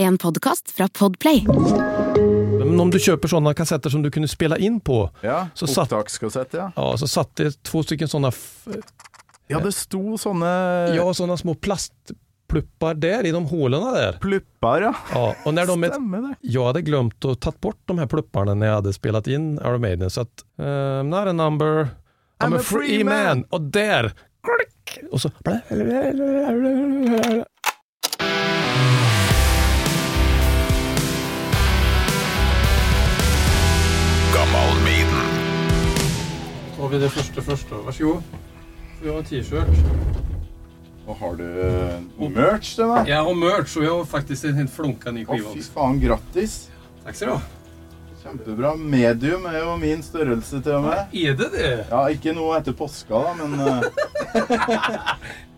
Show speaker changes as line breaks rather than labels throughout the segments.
En podkast fra Podplay.
Men om du köper sådana kassetter som du kunde spela in på,
Ja,
Så satt-
opptakskassett, ja.
ja, så satt det två stycken sådana, f- eh,
Ja, det sto sånne
ja, sådana små plastpluppar där i de hålen där.
plupper, ja.
Ja, och när de är
Stemmer det.
Jag hade glömt att ta bort de här plupparna när jag hade spelat in Iron Maiden, så att eh, not a number, I'm, a free, man. Och där, klick, och så... Så har vi det første første. Varsågod. Vi har en t-shirt.
Og har du eh, merch til meg?
Jeg har merch, og jeg har faktisk en helt flunka ny
Å, fy faen, grattis.
Takk skal du ha.
Kjempebra. Medium er jo min størrelse til og med.
Er det det?
Ja, ikke noe etter påska, da, men eh,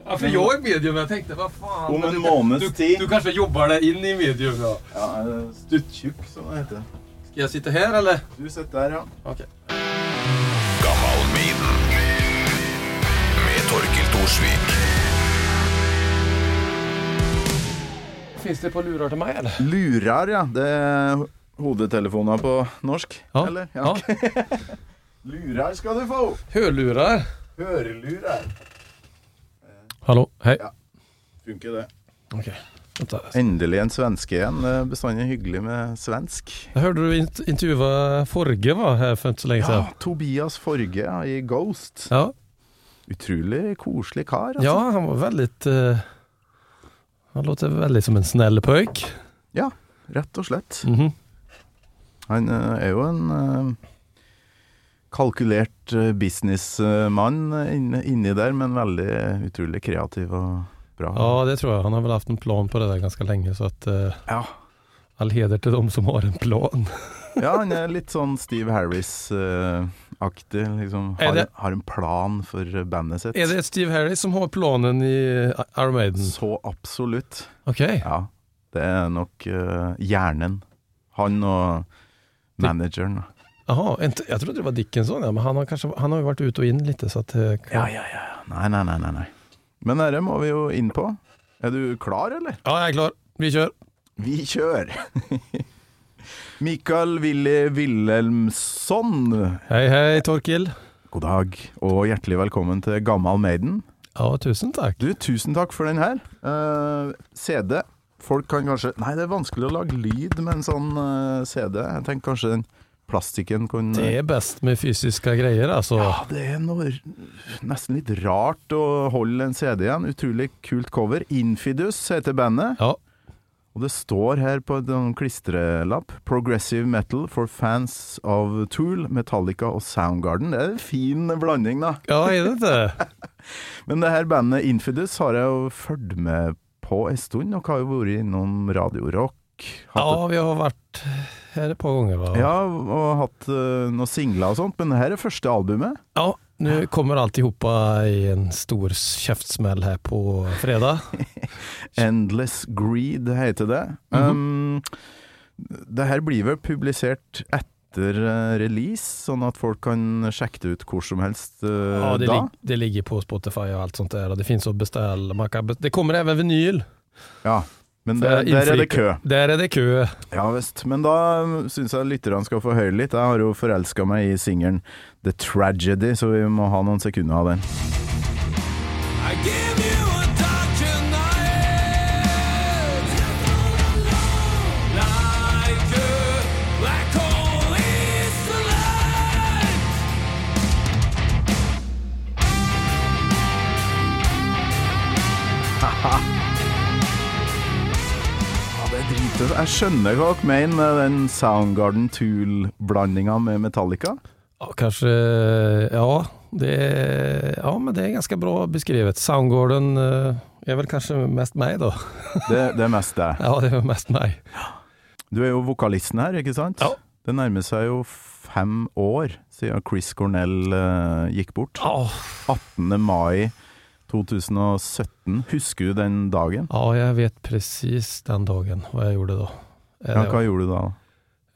Ja, for jeg er medium. Jeg tenkte, hva faen?
Om en
Du-
måneds
du,
tid.
Du kanskje jobber deg inn i medium, ja.
ja, eh, stuttjukk, som det heter.
Skal jeg sitte her, eller?
Du sitter der, ja.
Ok. Finns det på lurar til meg, eller?
Lurer, ja. Det er hodetelefoner på norsk,
Ja.
eller?
Ja.
Lurer skal du få!
Hørlurer.
Hørelurer.
Hallo, hei.
Ja. Funker det.
Ok. Vänta.
Endelig en svenske igjen. Det er Bestandig hyggelig med svensk.
Jeg hørte du int- intervjua Forge var her for ikke så lenge
Ja,
siden.
Tobias Forge ja, i Ghost.
Ja.
Utrolig koselig kar. Altså.
ja, han var veldig eh, Han låter veldig som en snill pøyk.
Ja, rett og slett.
Mhm.
Han eh, er jo en eh, kalkulert eh, businessmann inne- inni der, men veldig utrolig kreativ og bra.
Ja, det tror jeg. Han har vel hatt en plan på det der ganske lenge, så at eh,
Ja.
all heder til dem som har en plan.
Ja, han er litt sånn Steve Harris-aktig. Liksom.
Er
Har,
det-
har en plan for eh, bandet sitt.
Er det Steve Harris som har planen i eh, Iron Maiden?
Så absolutt.
Ok.
Ja, det er nok eh, hjernen. Han og manageren.
Jaha, inte- jeg trodde det var Dickinson, ja, men han har, kanskje, han har jo vært ut og inn litt, så at eh, kan-
Ja, ja, ja. Nei, nei, nei, nei. nei. Men dette må vi jo inn på. Er du klar, eller?
ja, jeg er klar. Vi kjører.
Vi kjører! Mikael Willy Wilhelmsson,
Hei, hei, Torkil.
god dag og hjertelig velkommen til Gammal Maiden.
Ja, tusen takk.
Du, tusen takk for den her. Eh, CD. Folk kan kanskje Nei, det er vanskelig å lage lyd med en sånn eh, CD. Jeg tenker kanskje den plastikken kunne
Det er best med fysiske greier, altså.
Ja, det er noe nesten litt rart å holde en CD igjen. Utrolig kult cover. Infidus heter bandet,
Ja.
og det står her på en klistrelapp 'Progressive metal for fans of Tool, Metallica og Soundgarden'. Det er en fin blanding, da.
Ja, er det ikke?
Men det her bandet Infidus har jeg jo fulgt med på en stund, og har jo vært innom Radio Rock. hatt
Ja, vi har vært her et par ganger, va?
et- ja, og hatt eh, noen singler og sånt, men det her er første albumet.
Ja, nu kommer alltihopa i en stor käftsmäll här på fredag.
'Endless Greed' heter det. um, det her blir vel publisert etter eh, release, sånn at folk kan sjekke det ut hvor som helst eh,
Ja, det,
da.
lig det ligger på Spotify och allt sånt där och det finns att beställa. Man kan be det kommer även vinyl.
Ja, men
Det
der,
er
der er det
innfritt.
kø.
Där är det kö.
Ja visst. Men da syns jeg lytterne skal få høre litt. Jeg har jo forelska meg i singelen 'The Tragedy', så vi må ha noen sekunder av den.
I give you a dark tonight. Like a black hole is the light.
Ja, det er drittøft. Jeg skjønner hva dere mener med den Soundgarden Tool-blandinga med Metallica.
Ja, kanske, ja, det är, ja, men det är ganska bra beskrivet. Soundgarden eh, är väl kanske mest mig då.
Det, det er mest det.
Ja, det är mest mig.
Du er jo vokalisten her, ikke sant?
Ja.
Det nærmer seg jo fem år siden Chris Cornell eh, gikk bort.
Ja,
18. mai 2017. Husker du den dagen?
ja, jag vet precis den dagen vad jag gjorde då. Eh,
Ja, hva gjorde du da?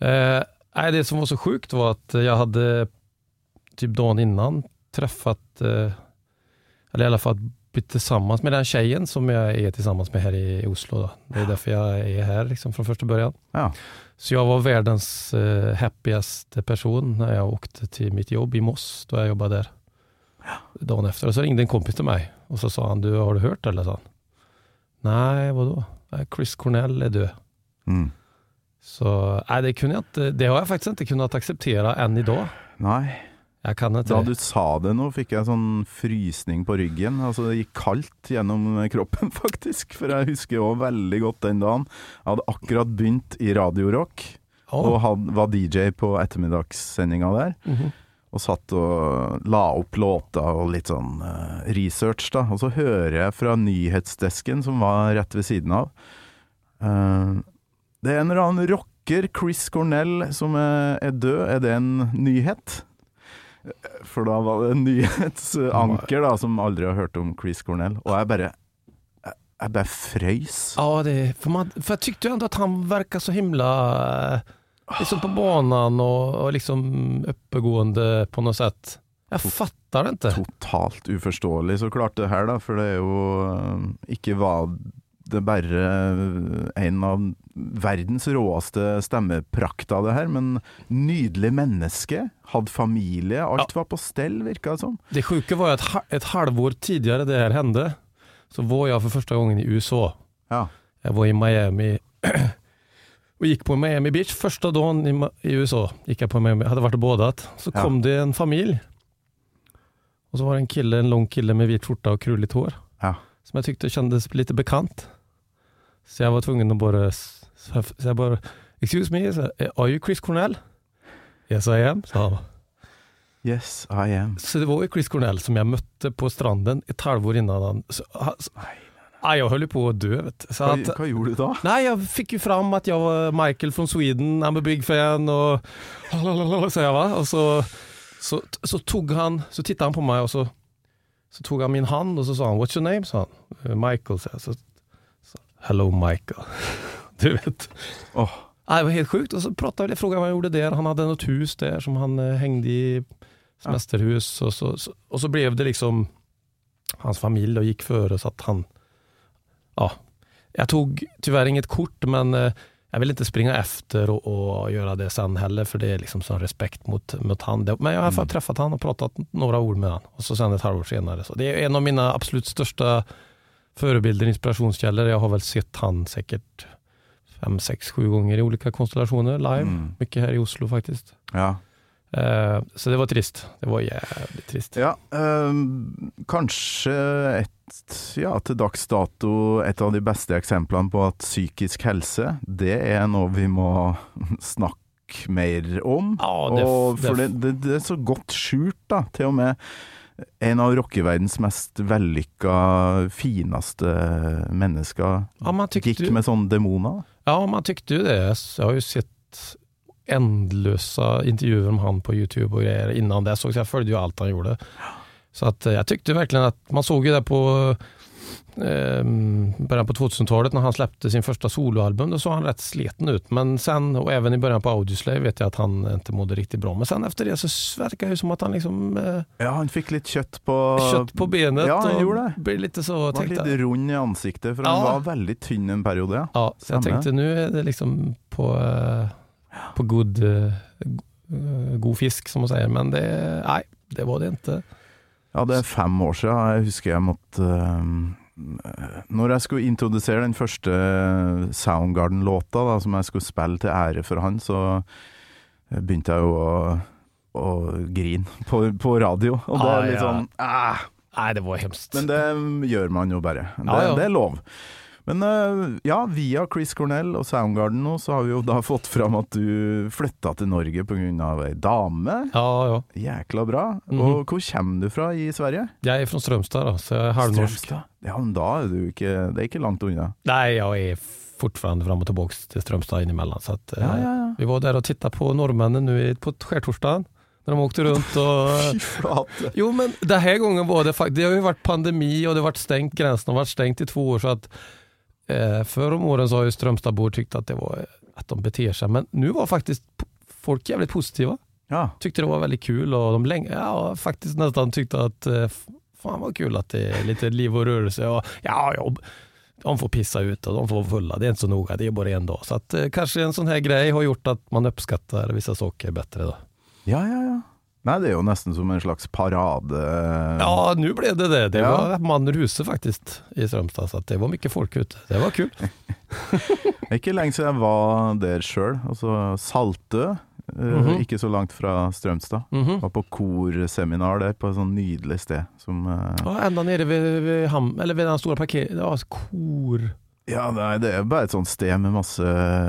Eh, nej, det som var så sjukt var att jag hade typ dagen innan träffat, eh, eller i alla fall uppe tillsammans med den tjejen som jag är tillsammans med här i Oslo. Då. Det är därför jag är här liksom, från första början.
Ja.
Så jag var världens eh, happigaste person när jag åkte till mitt jobb i Moss, då jag jobbade där. Dagen efter. Och så ringde en kompis till mig och så sa han, du har du hört eller? Sa han. Nej, vadå? Nej, Chris Cornell är död.
Mm.
Så nej, det, kunde jag inte, det har jag faktiskt inte kunnat acceptera än idag.
Nei.
Jag kan inte
Da
det.
du sa det nå, fikk jeg sånn frysning på ryggen. Altså, det gikk kaldt gjennom kroppen, faktisk. For jeg husker òg veldig godt den dagen. Jeg hadde akkurat begynt i Radiorock, og
Ja.
had, var DJ på ettermiddagssendinga der.
Mhm.
Og satt og la opp låter og litt sånn eh, research, da. Og så hører jeg fra nyhetsdesken, som var rett ved siden av eh, Det er en eller annen rocker, Chris Cornell, som er, er død. Er det en nyhet? For da var det en nyhetsanker da, som aldri har hørt om Chris Cornell. Og jeg bare Jeg, jeg bare frøys.
Ja, det, för, man, för jag tyckte ju ändå att han verkar så himla eh, liksom på banan och, och liksom uppegående på något sätt. Jag fattar inte.
totalt uforståelig, så klart det her, da. For det er jo eh, Ikke var det bare eh, en av verdens råeste stemmeprakter, det her, men nydelig menneske. Hadde familie. Alt var på stell, virka det som.
Det sjuka var ju att ha- ett halvår tidigare det här hände så var jag för första gången i USA.
Ja.
Jag var i Miami och gick på Miami Beach. Första dagen i, Ma- i USA gick jag på Miami, hade varit och badat. Så
Ja.
kom det en familj. Och så var det en kille, en lång kille med vit skjorta och krulligt hår.
Ja.
Som jag tyckte kändes lite bekant. Så jag var tvungen att bara, s- så jag, så jag bara excuse me, så, här, are you Chris Cornell? Yes I am, sa han.
Yes, I am.
Så det var ju Chris Cornell som jag mötte på stranden ett halvår innan han... Så, han- så,
Aj,
aj, jag höll ju på att dö vet du. Så
Hva,
att,
hva gjorde du da?
Nej, jag fick ju fram att jag var Michael från Sweden, I'm a big fan och så jag va. Och så, så, så tog han, så tittade han på mig och så, så tog han min hand och så sa han What's your name? sa han. "Eh, Michael, sa jag. Så, så, Hello Michael. Du vet.
Åh,
Ja, det var helt sjukt. Och så pratade vi, frågade vad han gjorde där. Han hade något hus där som han eh, hängde i, semesterhus. Och så, så, och så blev det liksom hans familj och gick före så att han, ja. Jag tog tyvärr inget kort men eh, jag vill inte springa efter och, och göra det sen heller för det är liksom sån respekt mot, mot han. Det- Men jag har i alla fall
Mm.
träffat han och pratat några ord med han. Och så sen ett halvår senare. Så det är en av mina absolut största förebilder, inspirationskällor. Jag har väl sett han säkert fem, sex, sju gånger i olika konstellationer live.
mm,
Mycket här i Oslo faktiskt.
ja.
Eh, så det var trist. Det var jävligt trist.
Ja, ehm, kanskje et, ja, til dags dato et av de beste eksemplene på at psykisk helse, det er noe vi må snakke mer om.
Ja, det,
Og for
det,
det, det, det er så godt skjult, da. Til og med en av rockeverdens mest vellykka, fineste mennesker
ja, man
gikk
tyckte,
med sånne demoner.
ja, man tyckte ju det. Jag har ju sett ändlösa intervjuer om han på Youtube och grejer innan det. Så jag följde ju allt han gjorde. Så att, eh, jag tyckte verkligen att man såg ju det på eh, början på 2000-talet när han släppte sin första soloalbum. Då såg han rätt sliten ut. Men sen, och även i början på Audioslave vet jag att han inte mådde riktigt bra. Men sen efter det så verkar det ju som att han liksom eh,
Ja, han fikk litt kjøtt på
kött på benet
Ja, han
och
gjorde det.
blir lite så
Var
tänkte
litt
jag.
rund i ansiktet, for han
Ja.
var veldig tynn en periode. ja.
Ja, så jag
Samma.
tänkte nu är det liksom på, eh, på god, eh, go- eh, god fisk som man säger, men det, nej, det var det inte.
Ja, det er fem år siden. Jeg husker jeg måtte øhm, øh, Når jeg skulle introdusere den første Soundgarden-låta da, som jeg skulle spille til ære for han, så eh, begynte jeg jo å, å grine på, på radio. Og det
Ah,
er litt
ja.
sånn ah,
Nej, det var hemskt.
Men det gjør man jo bare. Det,
Ja, ja.
det er lov. Men øh, ja, via Chris Cornell og Soundgarden nå, så har vi jo da fått fram at du flytta til Norge pga. ei dame.
Ja, ja.
Jækla bra.
Mhm.
Og hvor kommer du fra i Sverige?
Jag är från Strömstad då, så jag är halvnorsk.
Strømstad? Ja, men da er du ikke Det er ikke langt unna.
Nej, jag är fortfarande fram och tillbaka till Strömstad inemellan. Så att, eh,
Ja, ja, ja.
Vi var där och tittade på norrmännen nu i- på skärtorsdagen, när de åkte runt och
Fy flate.
Jo men den här gången var det faktiskt, det har ju varit pandemi och det har varit stängt, gränsen har varit stängt i två år så att eh, förr om åren så har ju Strömstadbor tyckt att det var att de beter sig men nu var faktiskt p- folk jävligt positiva.
Ja.
Tyckte det var väldigt kul och de länge, ja, faktiskt nästan tyckte att eh, f- Fan vad kul att det är lite liv och rörelse och ja, jobb. De får pissa ut och de får vara fulla, det är inte så noga, det är bara en dag. Så att, eh, kanske en sån här grej har gjort att man uppskattar vissa saker bättre. Då.
Ja, ja, ja. Nei, det er jo nesten som en slags parade.
Ja, nu blev det det. Det
Ja.
var man ruse faktiskt i Strömstad, så att det var mycket folk ute. Det var kul.
Det er Ikke lenge siden jeg var der sjøl. Altså Saltø, eh,
Mhm.
ikke så langt fra Strømstad.
Mhm.
Var på korseminar der, på et sånn nydelig sted som eh,
Ja, ända nere vid, vid, ham, eller vid den stora parkeringen, ja, altså kor.
Ja, nei, det er bare et sånt sted med masse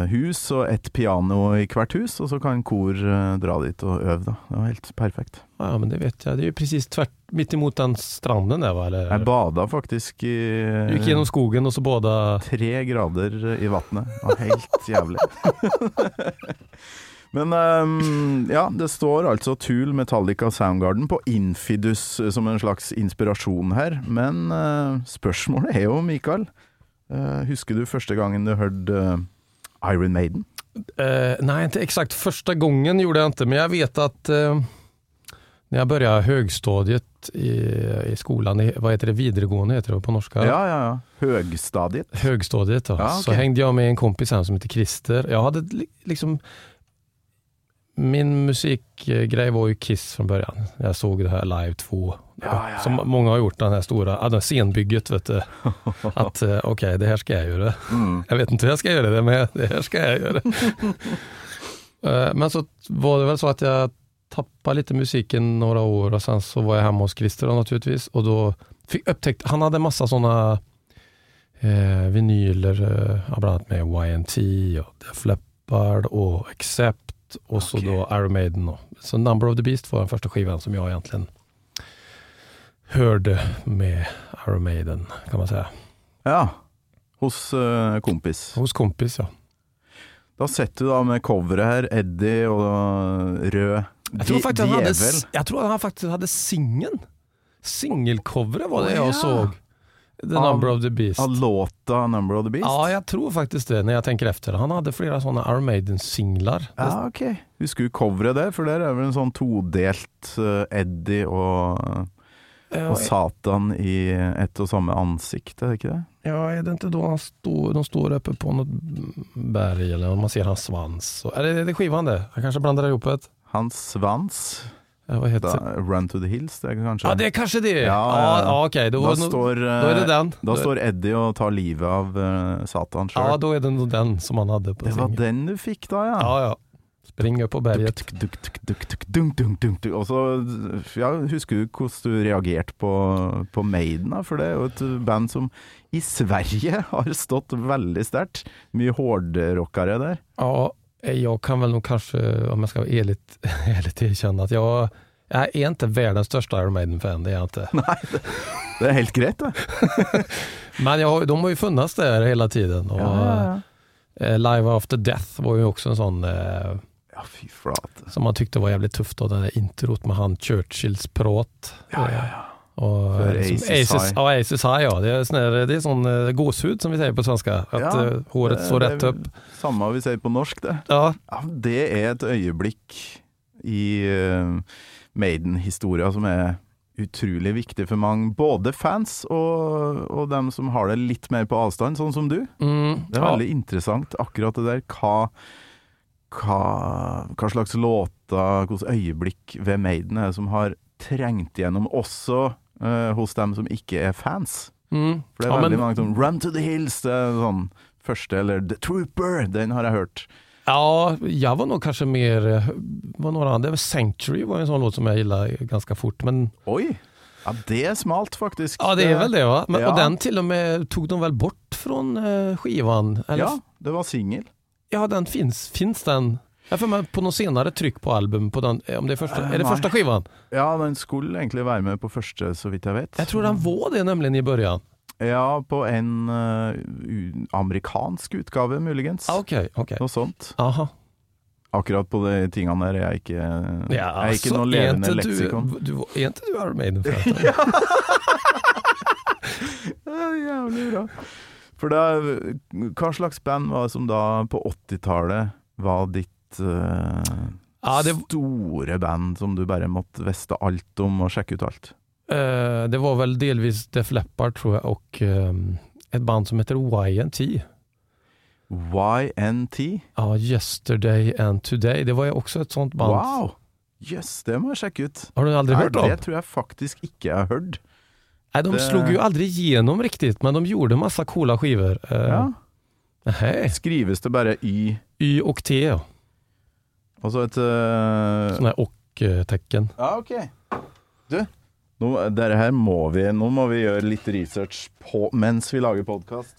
hus, og ett piano i hvert hus, og så kan kor eh, dra dit og øve, da. Det var helt perfekt.
Ja, men det vet jag. Det är ju precis tvärt mitt emot den stranden där va? Eller?
Jeg bada faktisk i
Du gick genom skogen och så båda...
tre grader i vannet. Det var helt jævlig. Men ehm, ja, det står altså Tool, Metallica og Soundgarden på Infidus eh, som en slags inspirasjon her. Men eh, spørsmålet er jo, Mikael, eh, husker du første gangen du hørte eh, Iron Maiden?
Eh, nej, inte exakt första gången gjorde jag inte, men jag vet att eh, när jag började högstadiet i, i skolan, i, vad heter det, videregående heter det på norska?
Ja, ja, ja. Høgstadiet.
högstadiet då,
Ja, okej.
så hängde jag med en kompis här som heter Christer. Jag hade li- liksom min musikgrej var ju Kiss från början. Jag såg det här Live 2.
Ja, ja,
Som många har gjort, den här stora, ja, det här scenbygget vet du. Att eh, okej, det här ska jag göra.
Mm.
Jag vet inte hur jag ska göra det, men det här ska jag göra. Eh, men så var det väl så att jag tappade lite musiken några år och sen så var jag hemma hos Christer då, naturligtvis och då fick, upptäckte, han hade massa sådana eh, vinyler, eh, ja, bland annat med YNT och Def Leppard och Accept och så
Okej.
då Iron Maiden. Då. Så Number of the Beast var den första skivan som jag egentligen hörde med Iron Maiden kan man säga.
Ja. Hos eh, kompis.
Hos kompis ja.
Da sitter du da med coveret her, Eddie og eh, rød
Jeg tror
di-
faktisk han hadde,
djevel.
jeg tror han faktisk hadde singen. Singelcoveret var det
Å, ja.
jeg så. The
Av-
Number of the Beast.
Av låta 'Number of the Beast'?
Ja, jag tror faktiskt det när jag tänker efter. Han hade flera sådana Iron Maiden-singlar.
Ja, ok. Husker du coveret der? For der er vel en sånn todelt eh, Eddie og,
Eh,
og Satan i ett og samme ansikt, er det ikke det?
Ja, är det inte då han står, de står uppe på något berg eller om man ser hans svans? Och, är, det, är det skivan det? Jag kanske blandar ihop ett.
Hans svans,
Eh, Vad heter
da,
det?
'Run to the Hills', det er kanskje
Ja, det er kanskje det. Ja,
Ja, ja,
ja,
ja.
okej. Då,
Da
var det nog-
står, eh,
då är det den.
da står Eddie og tar livet av eh, Satan
ja,
sjøl.
då är det nog den som han hade på
det var
singeln.
den du fikk da, ja.
Ja, ja. Spring upp på berget.
Dunk, dunk, dunk, dunk, dunk, dunk, dunk, dunk, dunk. Og så ja, husker du hvordan du reagerte på, på Maiden, da? For det er jo et band som i Sverige har stått veldig sterkt. Mye hårdrockere der.
Ja, jag kan väl nog kanske, om jag ska vara ärligt, ärligt erkänna att jag, jag är inte världens största Iron Maiden-fan, det är jag inte.
Det er helt greit, det.
Men jag, har- de har ju funnits där hela tiden. Och, eh, Live After Death var ju också en sån eh,
ja, fy flate.
som man tyckte var jävligt tufft, då, det där introt med han Churchills prat.
Ja, ja, ja.
Och,
För
eh, som
Aces High.
Ja, Aces High ja. Det är sån, här, det är sån eh, gåshud som vi säger på svenska, att
Ja,
eh, håret står
Det-
rätt
det er
upp.
Samme vi sier på norsk, det.
Ja,
Ja, det er et øyeblikk i eh, Maiden-historia som er utrolig viktig for mange, både fans og, og dem som har det litt mer på avstand, sånn som du.
mm,
Det er
ja.
veldig interessant, akkurat det der. Hva, hva, hva slags låter, hvilke øyeblikk ved Maiden er det som har trengt gjennom, også eh, hos dem som ikke er fans?
Mm.
For det er
ja,
veldig
men-
mange sånn 'Run to the Hills', det er sånn første, eller 'The Trooper', den har jeg hørt.
Ja, jag var nog kanske mer, eh, var några andra, Sanctuary var en sån låt som jeg gillade ganska fort. Men
Oi! Ja, det er smalt, faktisk.
ja, det är väl det va? Men,
Ja.
Och den till och med tog de väl bort från eh, skivan? Eller?
Ja, det var singel.
ja, den finns, finns den? Jag får med på någon senare tryck på album, på den, eh, om det är, första,
Eh,
är det
nej.
första skivan?
Ja, den skulle egentlig være med på første, så vidt jeg vet.
Jag tror den var det nämligen i början.
Ja, på en eh, u- amerikansk utgave, muligens.
Ah, Okej, okej.
Noe sånt.
Aha.
Akkurat på de tingene der er jeg ikke Jeg er ikke
altså,
noe
är
levende
inte
leksikon.
Du, du, är inte du Iron Maiden? för att-
Ja, jævlig bra. For da, hva slags band var det som da på 80-tallet var ditt eh,
Ja, det,
store band som du bare måtte vite alt om og sjekke ut alt?
Eh, det var väl delvis Def Leppard tror jag och eh, ett band som heter YNT.
YNT.
Ja, Ah, Yesterday and Today. Det var ju også ett sånt band.
Wow! Jøss, yes, det må jeg sjekke ut.
Har du aldrig
Nei,
hørt om?
det tror jeg faktisk ikke jeg har hørt.
Nej, de
det-
slog ju aldrig igenom riktigt, men de gjorde massa coola skivor. Eh,
Ja.
nej.
Skrives det bare Y,
Y och T, ja. Sånn
altså et øh,
sådana här och-tecken.
Ja, ok. Du, nå, dere her må vi, nå må vi gjøre litt research på, mens vi lager podkast.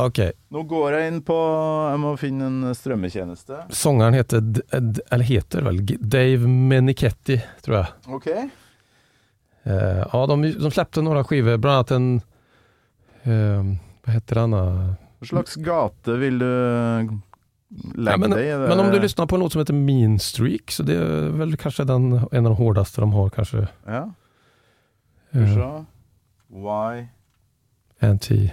Okej,
Nå går jeg inn på Jeg må finne en strømmetjeneste.
sångaren heter, D- D- eller heter väl G- Dave Menichetti, tror jag.
OK.
Eh, ja, de, de släppte några skivor, bland annat en, eh, vad heter den? eh?
Hva slags gate vil du legge
Ja,
deg i?
Men om du lyssnar på en låt som heter Mean Streak, så det är väl kanske den, en av de hårdaste de har kanske.
Ja, skal vi
Eh,
se. Why
NT.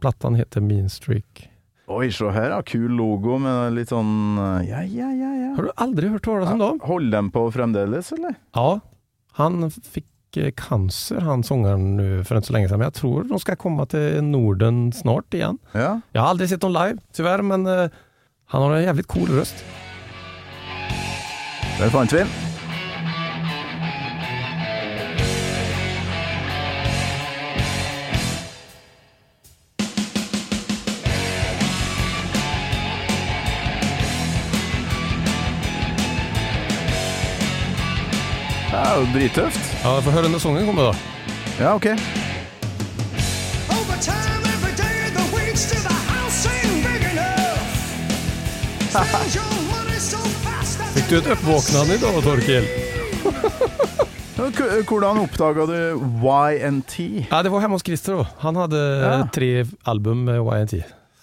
Plattan heter Mean Streak.
Oi, se her, ja. Kul logo med litt sånn Ja, ja, ja. ja.
Har du aldrig hört talas om dem?
Holder de på fremdeles, eller?
Ja, han fick eh, cancer, han sångaren nu för inte så länge sedan. Men jag tror de ska komma till Norden snart igen.
Ja.
Jag har aldrig sett dem live, tyvärr, men eh, han har en jävligt cool röst.
Der fant vi den. Det er jo drittøft.
Ja, får höra när sången kommer då.
Ja, OK.
Overtime every day, the weeks to the house ain't big enough. Spend your money so fast that
Fick du ett uppvaknande idag, Torkel?
Men k- Hvordan oppdaga du YNT?
Ja, det var hemma hos Christer då. Han hade
Ja.
tre album med YNT.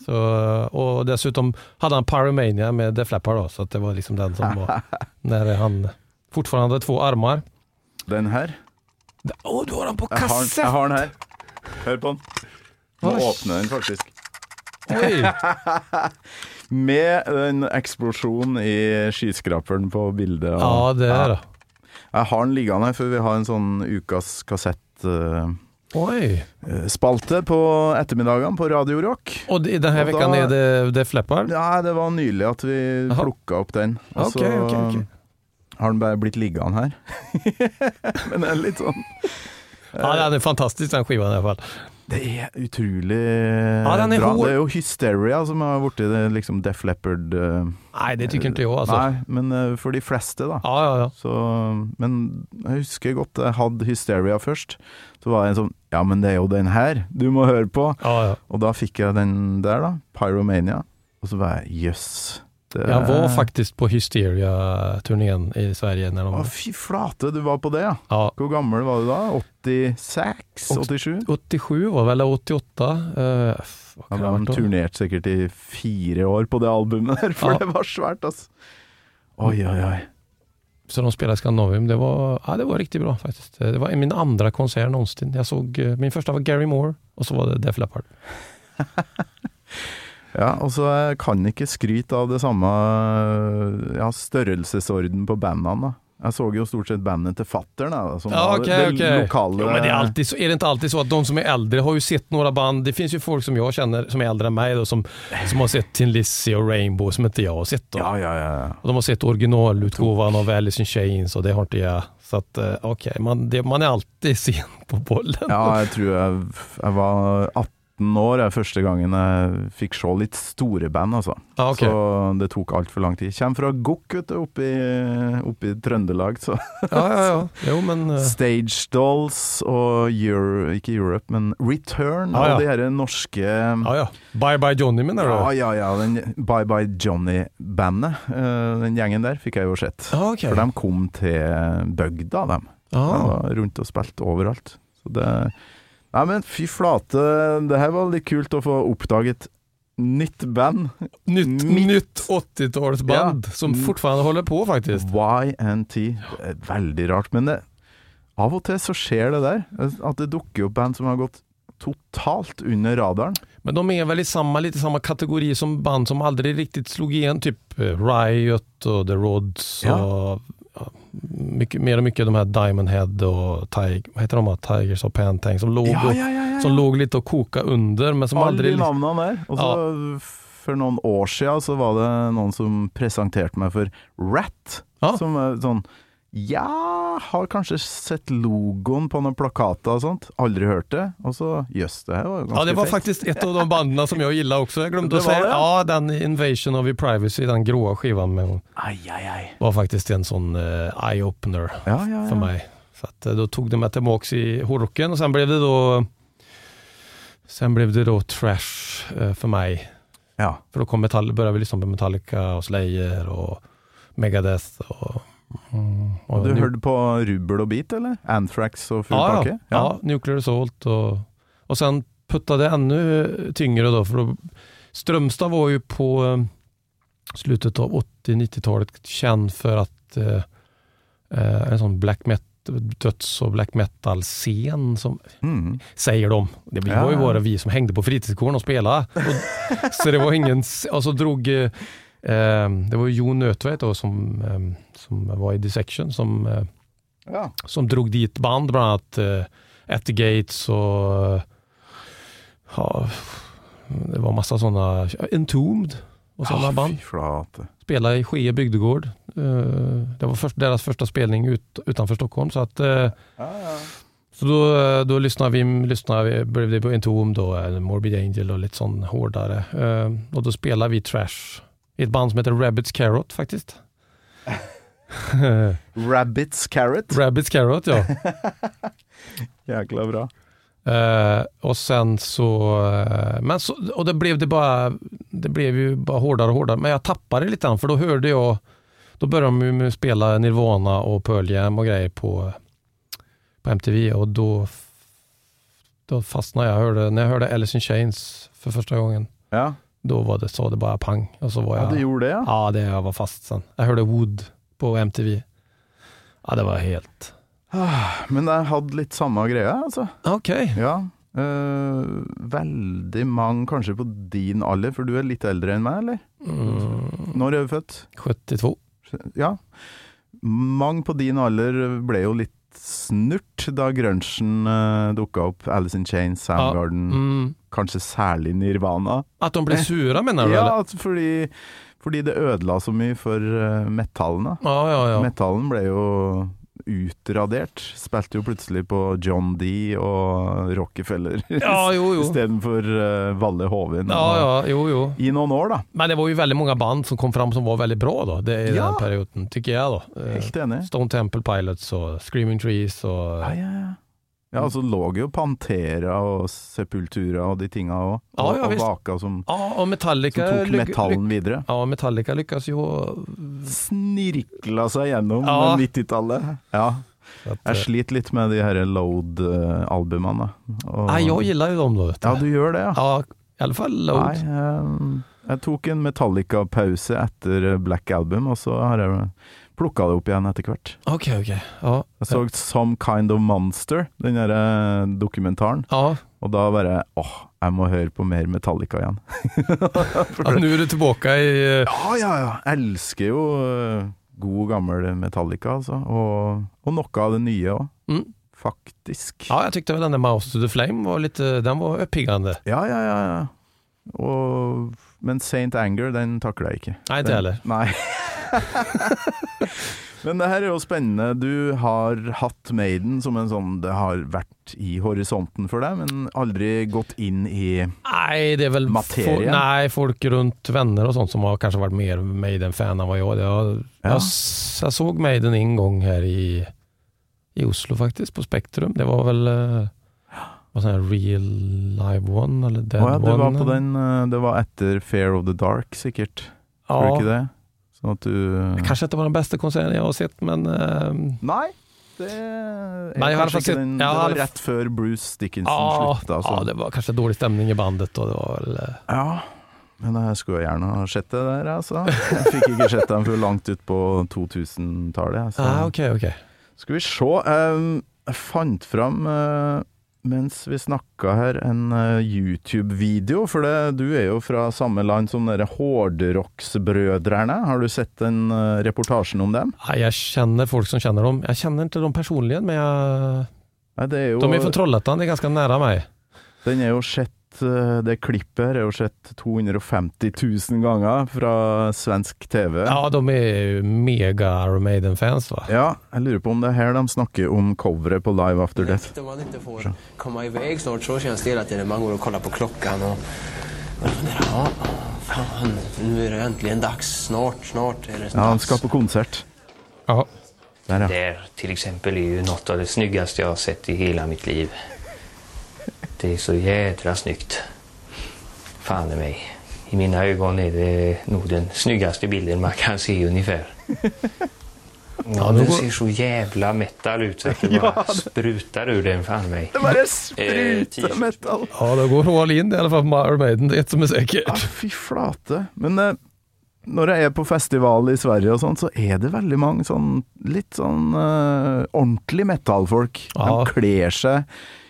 Så, eh, och dessutom hade han Pyromania med Def Leppard då, så att det var liksom den som var när han fortfarande hade två armar.
Den her.
Åh, du har den på
Jeg har, den- jeg har den her. Hør på den. Må
Oi.
åpne den, faktisk.
Oj,
Med den eksplosjonen i skyskraperen på bildet. og-
ja det är det.
Jeg har den liggende her, for vi har en sånn ukas kassettspalte
Oj,
på ettermiddagene på Radio Rock.
och det- den här
Och då-
veckan är det Def Leppard?
Ja, det var nylig at vi
Jaha.
plukka opp den. Og
Okej,
så
okej, okej.
har den bare blitt liggende her. Men det er litt sånn
Ja, den är fantastisk den skivan i alla fall.
Det er utrolig eh,
Ja, den er
bra.
hård.
Det er jo Hysteria som har blitt det liksom Def Leppard eh,
Nej, det tycker inte jag alltså.
Nei, men eh, for de fleste, da.
altså. Ja, ja, ja.
Så, men jeg husker godt jeg hadde Hysteria først. Så var jeg en sånn Ja, men det er jo den her du må høre på.
ja, ja.
Og da fikk jeg den der, da. Pyromania. Og så var jeg jøss. det-
Jag var faktiskt på Hysteria-turnén i Sverige når de
Å, fy flate, du var på det, ja.
Ja,
Hvor gammel var du da? 86? 87?
87 var det, eller 88? eh, f- hva kan
Ja,
det ha
de
vært da?
turnerte sikkert i fire år på det albumet der, for
Ja.
det var svært, altså. Oi, oi, oi.
Så de spelade Scandinavium. Det var, ja, det var riktigt bra faktiskt. Det var min andra konsert någonsin. Jag såg, eh, min första var Gary Moore och så var det Def Leppard.
Ja, og så jeg kan ikke skryte av det samme eh, ja, størrelsesorden på bandene, da. Jeg så jo stort sett bandet til fattern, jeg, da, som
Ja,
var
okej,
det, det
okej.
lokale
Jo, men det är, alltid så, är det inte alltid så att de som är äldre har ju sett några band. Det finns ju folk som jag känner som är äldre än mig då, som, som har sett Tin Lizzy og Rainbow som inte jag har sett. Då.
Ja, ja, ja. ja.
Och de har sett originalutgåvan av Alice in Chains och det har inte jag. Så att, eh, okej, man, det, man är alltid sen på bollen.
Ja, jeg tror jeg, jeg var 18 år jeg, første gangen jeg fikk se litt store band, altså.
Ja, okej.
Så det tok altfor lang tid. Kjem fra Gokk, vet du, oppe i, oppe i Trøndelag. Så.
ja, ja, ja. Jo, men... eh,
Stage Dolls og Euro, ikke Europe, men Return
Ah, Ja, Ah, ja.
og de her norske
Ja, ja. Bye Bye Johnny menar du?
Ja, ja, ja. Den Bye Bye Johnny-bandet, eh, den gjengen der, fikk jeg jo sett.
Ja, Ah. okej.
For de kom til bygda, dem. De
Ja.
var rundt og spilte overalt. Så det Nei, men fy flate. Det her var litt kult å få oppdaget nytt band.
Nytt,
Mitt- Mm.
nytt 80-talsband som fortfarande håller på faktiskt.
YNT. Det er Veldig rart. Men det, av og til så skjer det der. At det dukker opp band som har gått totalt under radaren.
Men de är väl i samma, lite samma kategori som band som aldrig riktigt slog igen, typ eh, Riot och The Rods
Ja.
och ja, mycket, mer och mycket de här Diamond Head och Tiger, vad heter de här, Tigers och Pantang som låg,
Ja,
och,
ja, ja. ja,
Som
ja.
låg lite och koka under men som
Alle
aldrig... liksom-
de navnene der. Og så for noen år siden så var det noen som presenterte meg for Rat,
Ja.
som er sånn ja, har kanskje sett logoen på noen plakater og sånt. Aldri hørt det. Og så jøss, det her var jo ganske
Ja, det var
fett.
faktiskt ett av de banden som jag gillar också. Jag glömde
Det
att
var
säga,
det, ja.
ja den Invasion of Your Privacy, den gråa skivan med hon,
Ai, ai, ai.
var faktiskt en sån eh, eye-opener
Ja, ja,
för
ja.
mig. Så att, eh, då tog det mig tillbaks i horrocken och sen blev det då Sen blev det då trash eh, för mig.
ja.
För då kom metall, började vi lyssna på Metallica och Slayer och Megadeth og mm,
Og
och
du
Nu-
hørte på rubbel og bit, eller? Anthrax og full
ja,
pakke?
ja. ja, Nuclear Assault och, och sen puttade jag ännu tyngre då för då, Strömstad var ju på eh, slutet av 80-90-talet känd för att eh, eh, en sån black metal döds och black metal-scen som
Mm.
säger de. Det var ju
Ja.
bara vi som hängde på fritidsgården och spelade. Och, så det var ingen, s- och så drog, eh, eh, det var ju Jon Nødtveit då som, eh, som var i Dissection som eh,
ja.
som drog dit band, bland annat uh, At the Gates och eh, ja, det var massa sådana, Entombed och sådana
Ah,
band.
Fy flate.
Spelade i Skie bygdegård. Eh, det var först, deras första spelning ut, utanför Stockholm. Så, att, eh, så då, eh, då lyssnade vi, lyssnade vi blev det på Entombed och eh, Morbid Angel och lite sån hårdare. Eh, och då spelade vi Trash i ett band som heter Rabbits Carrot faktiskt.
Rabbits Carrot.
Rabbits Carrot ja.
Jækla bra.
Eh, och sen så, eh, men så, och det blev det bara, det blev ju bara hårdare och hårdare. Men jag tappade lite grann för då hörde jag, då började de ju med att spela Nirvana och Pearl Jam och grejer på, på MTV och då, då fastnade jag. jag. Hörde, när jag hörde Alice in Chains för första gången,
Ja.
då var det, sa det bara pang. Och så var
ja,
jag,
du gjorde det, ja?
ja det jag var fast sen. Jag hörde Wood på MTV. Ja det var helt,
Men jeg hadde litt samme greia, altså.
okej.
Ja. eh, veldig mange, kanskje på din alder, for du er litt eldre enn meg, eller?
Mm,
Når er du født?
72.
Ja. Mange på din alder ble jo litt snurt da grunchen uh, dukka opp. Alice in Chains,
Ja,
Soundgarden,
Mm.
kanskje særlig Nirvana.
At de ble sura, mener du? eller?
Ja, altså, fordi, fordi det ødela så mye for eh, metallen. da.
ja, ja. ja.
Metallen ble jo utradert. Spilte jo plutselig på John D og Rockefeller
ja jo, jo.
istedenfor uh, Valle Hovin.
Ja, ja, jo, jo.
I noen år, da.
Men det var ju väldigt många band som kom fram som var väldigt bra då, det, i
Ja.
den perioden, tycker jag då. Eh,
Helt enig.
Stone Temple Pilots og Screaming Trees og
Ja, ja, ja. Ja, altså lå jo Pantera og Sepultura og de tinga òg,
Ja,
og,
ja,
og
visst.
vaka som,
Ja, og Metallica
som tok
lyk-
metallen videre.
lyk- Ja, Metallica lyckas ju. och-
Snirkla seg gjennom
Mm. Ja.
90-tallet. Ja.
så Att,
Jeg
eh,
sliter litt med de her Load-albumene. Og-
nej, jag gillar ju dem då. Vet du.
Ja, du gjør det, ja.
ja, i alla fall Load.
Nei, eh, jeg tok en Metallica-pause etter eh, Black Album, og så har jeg plukka det opp igjen etter hvert.
Okej, okej. Ja,
Jeg så Some Kind of Monster, den der eh, dokumentaren,
ja.
og da bare åh, jeg må høre på mer Metallica igjen.
ja, nu är du tillbaka i... eh,
Ja, ja, ja. Jeg elsker jo eh, god, gammel Metallica, altså. Og, og noe av det nye òg,
Mm.
faktisk.
Ja, jag tyckte väl den där Mouse to the Flame var lite, den var uppiggande.
Ja, ja, ja. ja. Og, men Saint Anger, den takler jeg ikke.
Nej, inte
Den-
heller.
Nei. men det her er jo spennende. Du har hatt Maiden som en sånn Det har vært i horisonten for deg, men aldri gått inn i
Nej, det är väl
Materia?
fo- nej, folk runt vänner och sånt som har kanske varit mer Maiden-fan än vad jag är. Jag, jag,
Ja.
s- jag såg Maiden en gång här i, i Oslo faktiskt, på Spektrum. Det var väl eh, vad sån här Real Live One eller
Å
Dead
ja, det var
One.
på den eh, Det var etter Fair of the Dark, sikkert. Tror du
ja,
ikke det? Sånn at du
Kanske inte var den bästa konserten jag har sett, men eh,
Nei. Det er
Nei, jeg har
kanskje
faktisk-
ikke den,
jeg
det
har-
var rett før Bruce Dickinson altså.
ja,
slutta. Så.
ja, det var kanske dålig stämning i bandet. Och det var väl, eh,
Ja, men jeg skulle jo gjerne ha sett det der, altså. Jeg fikk ikke sett dem før langt ut på 2000-tallet. jeg, Så.
ah, okej, okej.
Skal vi se. em, Jeg fant fram eh, mens vi snakka her, en eh, YouTube-video. For det, du er jo fra samme land som dere Hårdrocksbrødrene. Har du sett den eh, reportasjen om dem?
Nei, jeg kjenner folk som kjenner dem. Jeg kjenner ikke dem personlig, men jeg,
Nei, det er jo,
de er fra Trollhättan, det er ganske nære meg.
den er jo sett eh, Det klippet her er jo sett 250 000 ganger fra svensk TV.
Ja, de er jo mega Iron Maiden-fans, va.
Ja, jeg lurer på om det er her de snakker om coveret på Live After Death.
Om man inte får komma iväg snart så känns det hela tiden. Man går och kollar på klockan och... Man funderar, ja, fan, nu är det äntligen dags. Snart, snart är det
Ja, han
dags.
skal på konsert.
Ja.
Der, ja.
Där till exempel är ju något av det snyggaste jag har sett i hela mitt liv. Det är så jädra snyggt. Fan i mig. I mina ögon är det nog den snyggaste bilden man kan se ungefär. Ja,
nu
den
går-
ser så jävla metal ut så att det bara sprutar ur den fan i mig.
Det bare
Eh,
spruter
t-shirt.
metal!
ja, det går all in i alle fall med Iron Maiden, det er ett som er
Ja,
sikkert.
fy flate. Men eh, når jeg er på festival i Sverige og sånn, så er det veldig mange sånn litt sånn eh, ordentlig metallfolk.
Ja.
De kler seg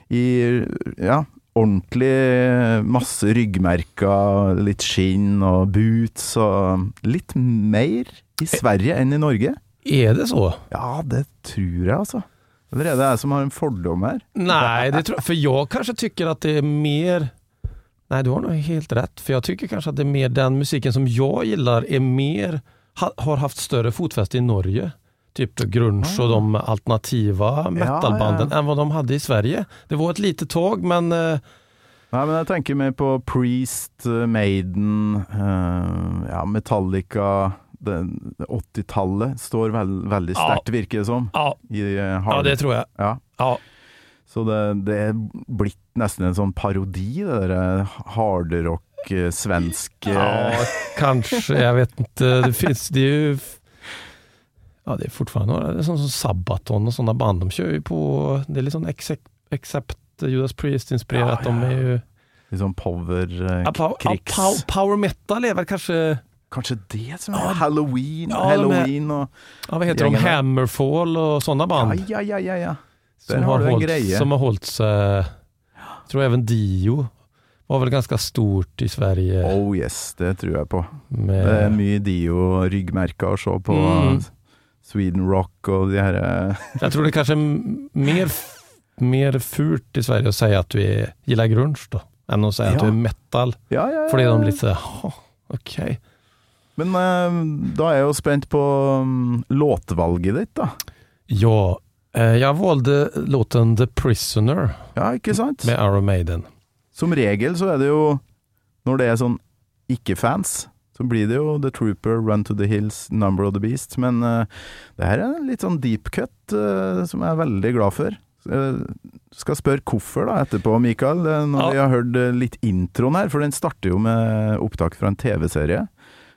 i ja, ordentlig eh, masse ryggmerker, litt skinn og boots og Litt mer i Sverige enn i Norge.
Er det så?
Ja, det tror jeg, altså. Eller er det jeg som har en fordom her?
Nej, det tror jag. För jag kanske tycker att det är mer... Nej, du har nog helt rätt. För jag tycker kanske att det är mer den musiken som jag gillar är mer, ha, har haft större fotfäste i Norge. Typ grunge och de alternativa metalbanden än vad de hade i Sverige. Det var ett litet tag, men eh,
Nei, men jeg tenker mer på Priest, eh, Maiden, eh, ja, Metallica den- 80-tallet står vel- veldig
Ja.
sterkt, virker det som.
ja,
I eh,
ja,
hard.
det tror jag.
Ja.
Ja,
Så det, det er blitt nesten en sånn parodi, det der eh, hardrock, eh, svensk
ja
eh,
kanske. Jag vet inte. Det finns, det är ju... Ja, det är fortfarande några, det är sånt som Sabaton och sådana band. De kör ju på, det är litt sån except, except Judas Priest-inspirerat.
Ja, ja,
De är ju...
litt sånn power eh,
Ja, pow, ja,
krigs...
pow, power metal er vel kanskje
Kanskje det som er Halloween,
Ja, de er-
Halloween og
ja, Hva heter de?
Gjengen, ja.
Hammerfall og sånne
Ja,
band?
ja, ja, ja. ja. Der
som,
har
har
du en
holdt,
greie.
som har holdt seg Jeg tror even Dio var vel ganske stort i Sverige.
Oh yes, det tror jeg på.
med,
Det er mye Dio-ryggmerker å se på. eh,
Mm.
Sweden Rock og de her
jeg tror det er kanskje m- mer, f- mer furt i Sverige å si at du er- gillar grunge, da, enn å si at
Ja.
du er metal.
Ja, ja, ja.
For det er de litt sånn «Jaha, Ok.
Men eh, da er jeg jo spent på mm, låtvalget ditt, da.
Ja, eh, jeg valgte låten The Prisoner
Ja, ikke sant?
med Arrow Maiden.
Som regel så er det jo, når det er sånn ikke-fans, så blir det jo The Trooper, Run to the Hills, Number of the Beast. Men eh, det her er en litt sånn deep cut eh, som jeg er veldig glad for. Eh, skal spørre hvorfor da etterpå, Mikael, eh, når
Ja.
vi har hørt eh, litt introen her. For den starter jo med opptak fra en TV-serie.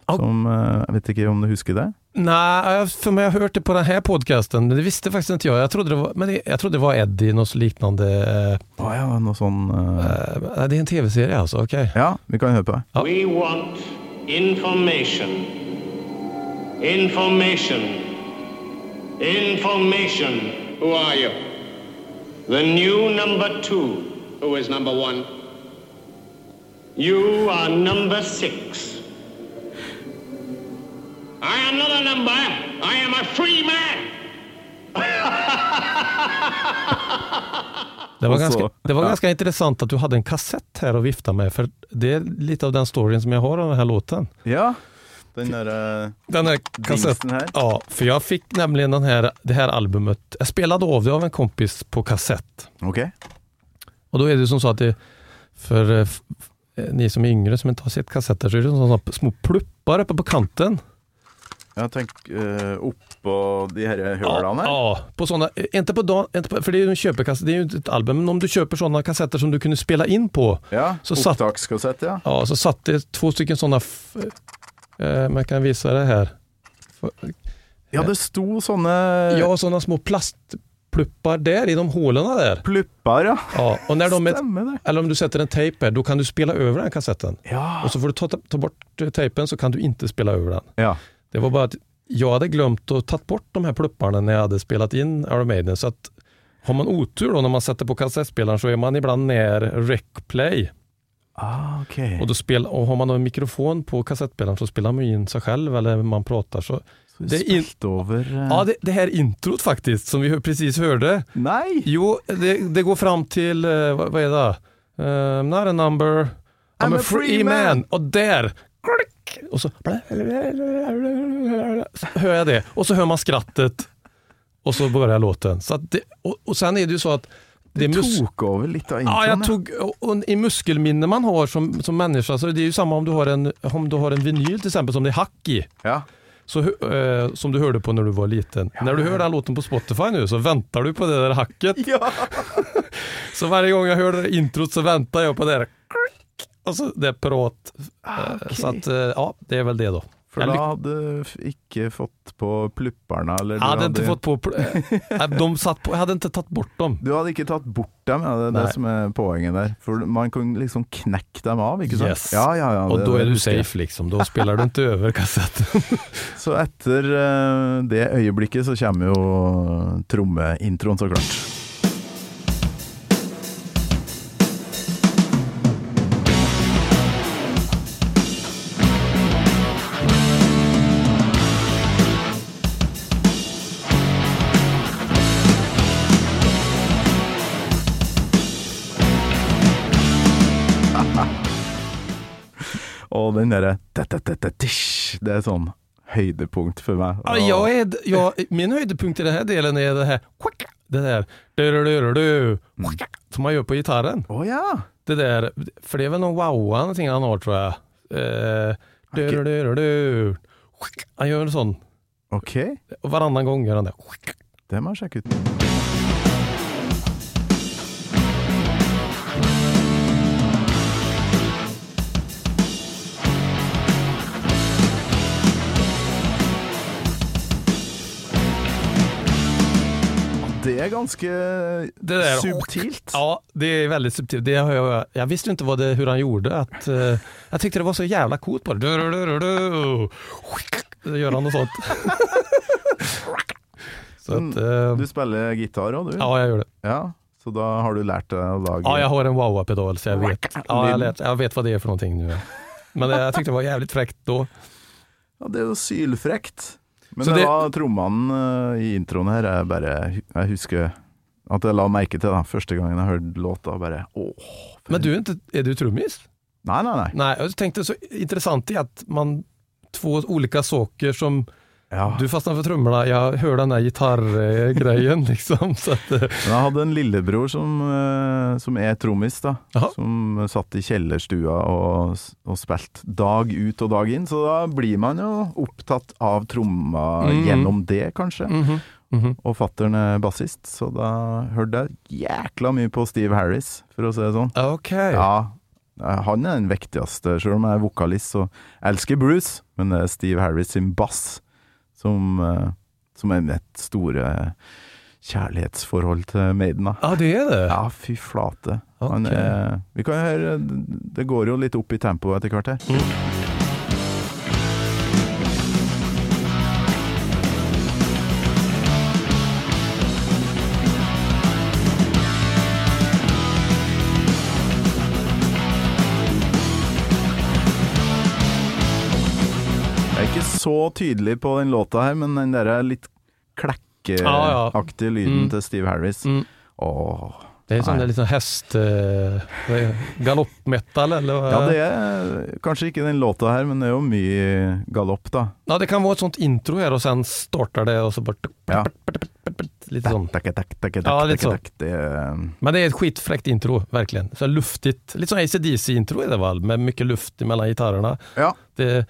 Ja.
Som eh, Jeg vet ikke om du husker det?
Nej, jag- för mig har jag hört det på den här podcasten, men det visste faktiskt inte jag. Jag trodde det var, men det, jag trodde det var Eddie, något liknande.
Å ja, noe sånn eh,
eh, eh, det är en tv-serie alltså, okej.
Ja, vi kan høre på det.
We want information. Information. Information. Who are you? The new number two. Who is number one? You are number six. I am not a number. I am a free man.
Det var,
Och så-
ganska, det var
ja.
ganska intressant att du hade en kassett här att vifta med, för det är lite av den storyn som jag har av den här låten.
Ja. Den derre
Den här
dingsen her.
Ja, för jag fick nämligen den här, det här albumet, jag spelade av det av en kompis på kassett.
Ok.
Och då är det ju som så att det, för eh, f- eh, ni som är yngre som inte har sett kassetter, så är det som sådana små pluppar uppe på kanten.
Ja, tenk eh, oppå de her hølene her.
Ja, på såna, eh, inte på dagen, inte på, för det är ju en köpekassett, det är ju inte ett album, men om du köper sådana kassetter som du kunde spela in på,
Ja.
ah. Så satt-
Opptakskassett, ja.
ja, så satt det två stycken sådana, f- eh, man kan visa det här. F-
Ja, det sto sånne
Ja, sådana små plastpluppar där i de hålen där.
plupper, ja.
Ja, och när de är,
Stemmer det.
eller om du sätter en tejp här, då kan du spela över den kassetten.
Ja.
Och så får du ta, ta bort eh, tejpen så kan du inte spela över den.
ja.
Det var bara att jag hade glömt att ta bort de här plupparna när jag hade spelat in Iron Maiden, så att Har man otur då när man sätter på kassettspelaren så är man ibland ner recplay.
Ah, ok.
Och, då spel, och har man då en mikrofon på kassettspelaren så spelar man ju in sig själv eller man pratar. Så.
Så vi
det Ah, är in-
spilte over eh,
Ja, det, det här introt faktiskt som vi hö- precis hörde.
Nei!
Jo, det, det går fram till, eh, vad, vad är det? Uh, not a number, I'm, a free man. Och där, klick, och så, så hör jag det. Och så hör man skrattet. Och så börjar låten. Så att det, og och sen är det ju så att det är
Du
mus- Ah,
tok over litt
Ja,
av introen.
jag tog, och och I muskelminne man har som, som människa, så det är ju samma om du har en, om du har en vinyl till exempel som det är hack i,
ja.
så, hö- eh, som du hörde på när du var liten. När du hör den här låten på Spotify nu så väntar du på det där hacket.
Ja.
Så varje gång jag hör det där introt så väntar jag på det där och så det är prat. Eh, Så att, eh, ja, det är väl det då.
Ah, For
Jeg
da
lyk-
hadde du f- ikke fått på plupparna, eller
jag
du
hade inte fått på, pl- eh, de satt på, jag hade inte tagit bort dem.
Du hadde ikke tatt bort dem, ja, det er
Nei.
det som er poenget der. For man kan liksom knekke dem av, ikke sant?
Yes.
Ja, ja, ja,
Och
det-
då
det
är du
husker jeg.
safe liksom, då spelar du inte över kassetten.
Så etter eh, det øyeblikket så kommer jo trommeintroen, så klart. Og den derre «tatatatatish», Det er sånn høydepunkt for meg.
Ja, jag är, jag, min höjdpunkt i den här delen är det här, det där, du-du-du-du-du,
Mm.
som man gör på gitarren.
Å ja!
det där, för det är väl någon wowa någonting han har tror jag. Eh, du, du, du, du, du. Han gör en sån,
Ok,
och varannan gång gör han det.
det må jeg sjekke ut. Det er ganske
Det der-
subtilt.
Ja, det är väldigt subtilt. Det har jag, jag visste inte vad det, hur han gjorde. Att, eh, jag tyckte det var så jävla coolt bara. Du, du, du, du, du. Så Gör han något sånt. Så att, eh,
Du spiller gitar òg, du?
ja, jag gör det.
Ja, Så da har du lært deg å lage
Ah, Ja, jag har en wowa-pedal så jag vet. Ja, jag, vet, jag vet vad det är för någonting nu. Men eh, jag tyckte det var jävligt fräckt då.
Ja, det er jo sylfrekt. Men
Så
det,
det-
var trommene eh, i introen her jeg bare Jeg husker at jeg la merke til det første gangen jeg hørte låta. og Bare, åh.
Men du är, inte, är du trummis?
Nei, nei, nei.
Nej, jag tänkte så intressant är att man två olika saker som
Ja.
du fastnar för trummorna, jag hör den här gitarrgrejen liksom. Så att, eh,
Men jeg hadde en lillebror som, eh, som er trommis, da.
Jaha.
Som satt i kjellerstua og, s- og spilte dag ut og dag inn. Så da blir man jo opptatt av tromma
Mhm.
gjennom det, kanskje.
mhm, mhm.
Og fattern er bassist, så da hørte jeg jækla mye på Steve Harris, for å si det sånn.
Okej.
Ja, Eh, han er den viktigste. Selv om jeg er vokalist, så jeg elsker Bruce, men det er Steve Harris sin bass som, eh, som er mitt store eh, kjærlighetsforhold til Maiden. da.
Ja, det är det.
Ja, fy flate.
Okej.
Han er, vi kan høre Det går jo litt opp i tempo etter hvert her.
Mm.
Jeg er ikke så tydelig på den låta her, men den der litt
Ah, Ja, ja.
klekkeaktige lyden
Mm.
til Steve Harris
Mm.
Åh.
Det är sån
Nej.
där liten häst, eh, vad är det? galoppmetal eller vad?
Ja, det er kanskje ikke den låta her, men det er jo mye galopp, da.
ja, det kan vara ett sånt intro här och sen startar det og så bara
Ja.
lite sånt.
Takk, takk, takk,
Sånn. Ja,
takk,
litt sånn.
takk, Det er-
Men det är ett skitfräckt intro, verkligen. Så luftigt, lite som AC/DC intro är det väl, med mycket luft mellan gitarrerna.
Ja.
Det,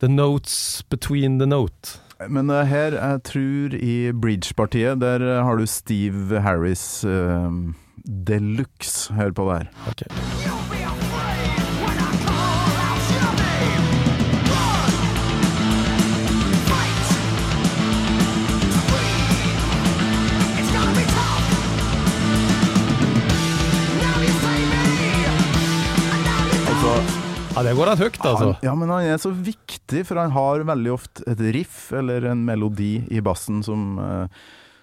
the notes between the note.
Men det her, jeg tror i bridgepartiet, der eh, har du Steve Harris um, deluxe. Hør på det her.
Okej. Ja, det går rätt högt alltså.
Han, ja, men han er så viktig, for han har veldig ofte et riff eller en melodi i bassen som, eh,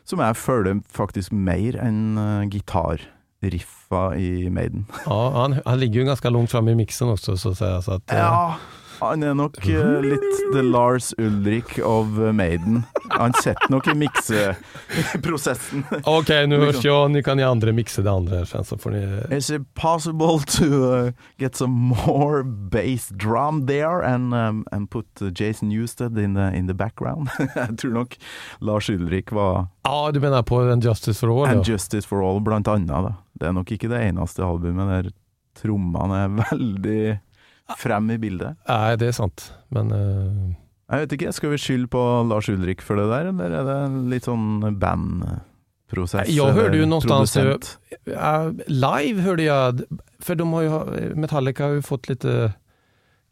som jeg føler faktisk mer enn eh, gitarriffa i Maiden.
Ja, han, han ligger ju ganska långt fram i mixen också så att säga. Så att, eh,
Ja, han er nok eh, litt the Lars Ulrik of eh, Maiden. Han sitter nok i mikseprosessen.
eh, Okej, nu hörs jag. Nu kan ni andra mixa det andra sen så får ni...
Is it possible to uh, get some more bass drum there and, um, and put uh, Jason Newsted in the, in the background? Jeg tror nok Lars Ulrik var
Ja, du menar på en Justice for All?
And
ja.
Justice for All, blant annet. Da. Det er nok ikke det eneste albumet der trommene er veldig frem i bildet.
Nej, det är sant. Men eh,
Jeg vet ikke, skal vi skylde på Lars Ulrik for det der, eller er det litt sånn bandprosess?
Nei, jeg hørte jo
eller
någonstans-
produsent?
ja, live hörde jag, för de har ju, Metallica har ju fått eh, lite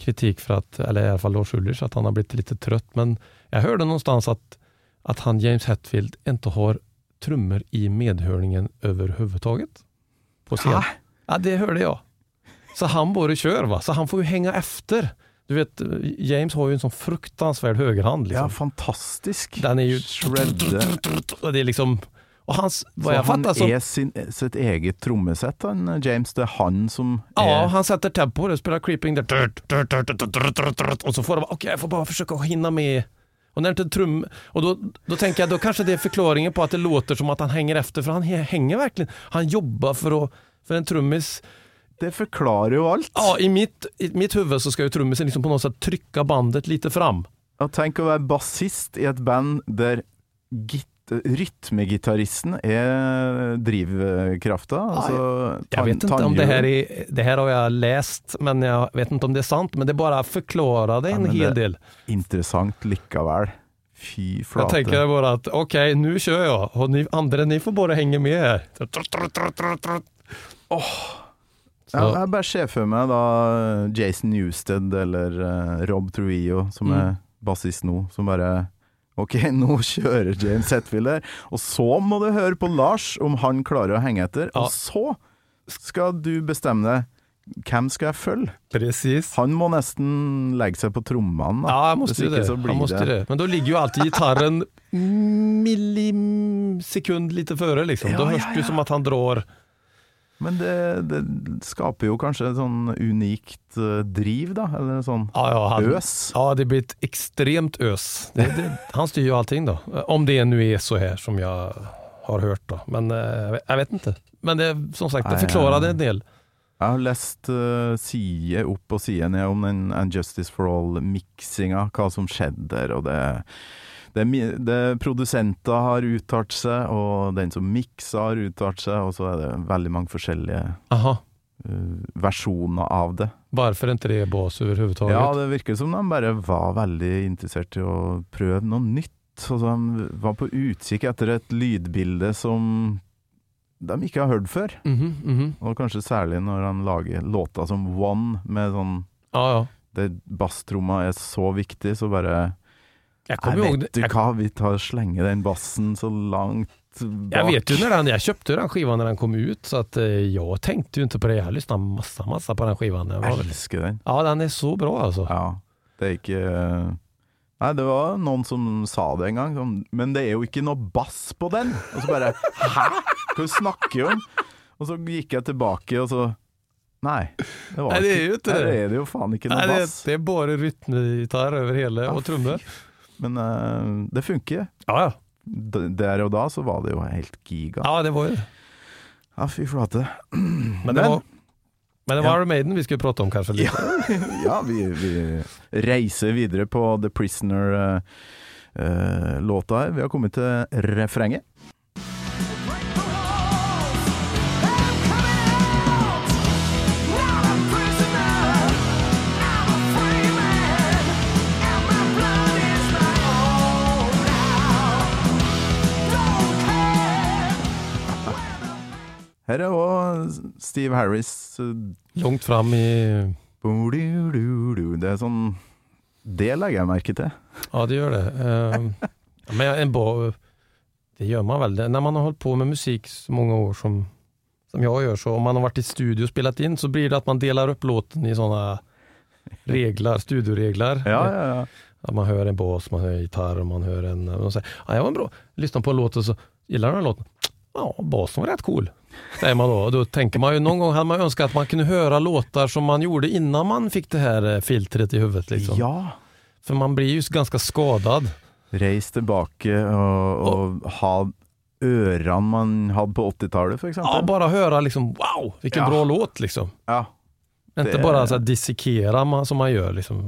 kritik för att, eller i alla fall Lars Ulrich, att han har blivit lite trött. Men jag hörde någonstans att, att han James Hetfield inte har trummor i medhörningen överhuvudtaget. På scen.
Hæ?
Ja, det hörde jag. Så han bara kör va, så han får ju hänga efter. Du vet, James har ju en sånn sån fruktansvärd högerhand.
Ja,
Liksom.
fantastisk.
Den är ju...
Shredder.
Och det är liksom... Och hans,
Så
vad jag
han
fattar som...
er sin, sitt eget trommesett, han James. Det er han som
Ja,
er
han sätter tempo på det, spelar creeping där. Och så får de, okej jag får bara försöka hinna med. Och när inte trum... Och då, då tänker jag, då kanske det är förklaringen på att det låter som att han hänger efter, för han he- hänger verkligen. Han jobbar för att... För en trummis,
Det forklarer jo alt.
ja i mitt, i mitt huvud så ska ju trummisen liksom på något sätt trycka bandet lite fram.
Og tenk å være bassist i et band der git rytmegitaristen er drivkrafta. Altså,
Jag vet inte om det här är, det här har jag läst, men jag vet inte om det är sant, men det bara förklarade
Ja,
en
men
hel
det-
del.
Interessant likevel. Fy
Jag
flate.
tänker bara att okej, nu kör jag och ni andra ni får bara hänga med här. Så,
Jeg, jeg bare ser for meg da eh, Jason Newsted eller eh, Rob Trujillo, som
Mm.
er bassist nå, som bare Ok, nå kjører James Hetfield her, og så må du høre på Lars om han klarer å henge etter.
Ja.
Og så skal du bestemme deg. Hvem skal jeg følge?
precis.
Han må nesten legge seg på trommene. da.
Ja, han måste
Hvis
ju
ikke
det.
så blir
Han måste
det-
det. Men då ligger ju alltid gitarren millisekund lite före liksom.
Ja,
då
ja,
hörs det ju
ja.
som att han drar.
Men det, det skaper jo kanskje et sånn unikt eh, driv, da. Eller sånn
Ja, ja, han,
øs.
Ja, det blir ett extremt ös. Det, det, han styr ju allting då. Om det nu är så här som jag har hört då. Men eh, jag vet- jag vet inte. Men det, som sagt, det
Nej,
förklarade
ja.
en del.
Jeg har lest eh, side opp og side ned om den And Justice for All-miksinga, hva som skjedde der, og det det, er mi- det Produsenter har uttalt seg, og den som miksa har uttalt seg, og så er det veldig mange forskjellige
Aha.
eh, versjoner av det.
Varför inte det är bas överhuvudtaget?
Ja, det virker som de bare var veldig interessert i å prøve noe nytt. Så de var på utkikk etter et lydbilde som de ikke har hørt før.
Mhm, mhm.
Og kanskje særlig når han lager låter som One, med sånn
Ja, ja.
det Basstromma er så viktig, så bare
Jag
Nei,
kommer ihåg det.
vet du
Jag,
hva, vi tar og slenger den bassen så langt bak.
jag vet ju när den, jag köpte ju den skivan när den kom ut så att eh, jag tänkte ju inte på det. Jag lyssnade massa, massa på den skivan. Den
Jeg
var,
elsker den.
ja, den är så bra altså. alltså.
Ja. Det er ikke Nei, det var noen som sa det en gang, sånn, men det er jo ikke noe bass på den. Og så bare Hæ?! Hva snakker du om? Og så gikk jeg tilbake, og så Nei. Det, var
Nei, det er jo ikke det.
Her er det jo faen ikke
Nej,
noe
det,
bass. Ah,
det är bara rytmgitarr över hela och trummor.
Men eh, det funker.
Ja, ja.
D- Der og da så var det jo helt giga.
Ja, det var ju det.
Ja, fy flate.
Men det
Men-
var, men det var
Ja.
Iron Maiden vi skulle prata om kanske lite.
Ja, vi, vi reiser videre på The Prisoner-låta her. Vi har kommet til refrenget. Her er òg Steve Harris. eh,
Långt fram i...
bo-du-du-du. Det er sånn Det legger jeg merke til.
Ja, det gör det. Ehm, ja, men en bra... Det gör man väl. Det- När man har hållit på med musik så många år som, som jag gör, så om man har varit i studio och spelat in så blir det att man delar upp låten i sådana reglar, studioregler.
Ja, ja, ja.
Att man hör en bas, man hör en gitarr och man hör en... Och så, ja, det var en bra. Lyssna på en låt och så... Gillar du den här låten? Ja, basen var rätt cool. Säger man då. Och Då tänker man ju, någon gång hade man ju önskat att man kunde höra låtar som man gjorde innan man fick det här eh, filtret i huvudet. Liksom.
Ja.
För man blir ju ganska skadad.
Reis tilbake og, og ha ørene man hadde på 80-tallet, for
Ja,
eksempel.
bara höra liksom, wow, vilken
Ja.
bra låt liksom.
Ja,
Inte
Det-
bara så här dissekera man, som man gör liksom,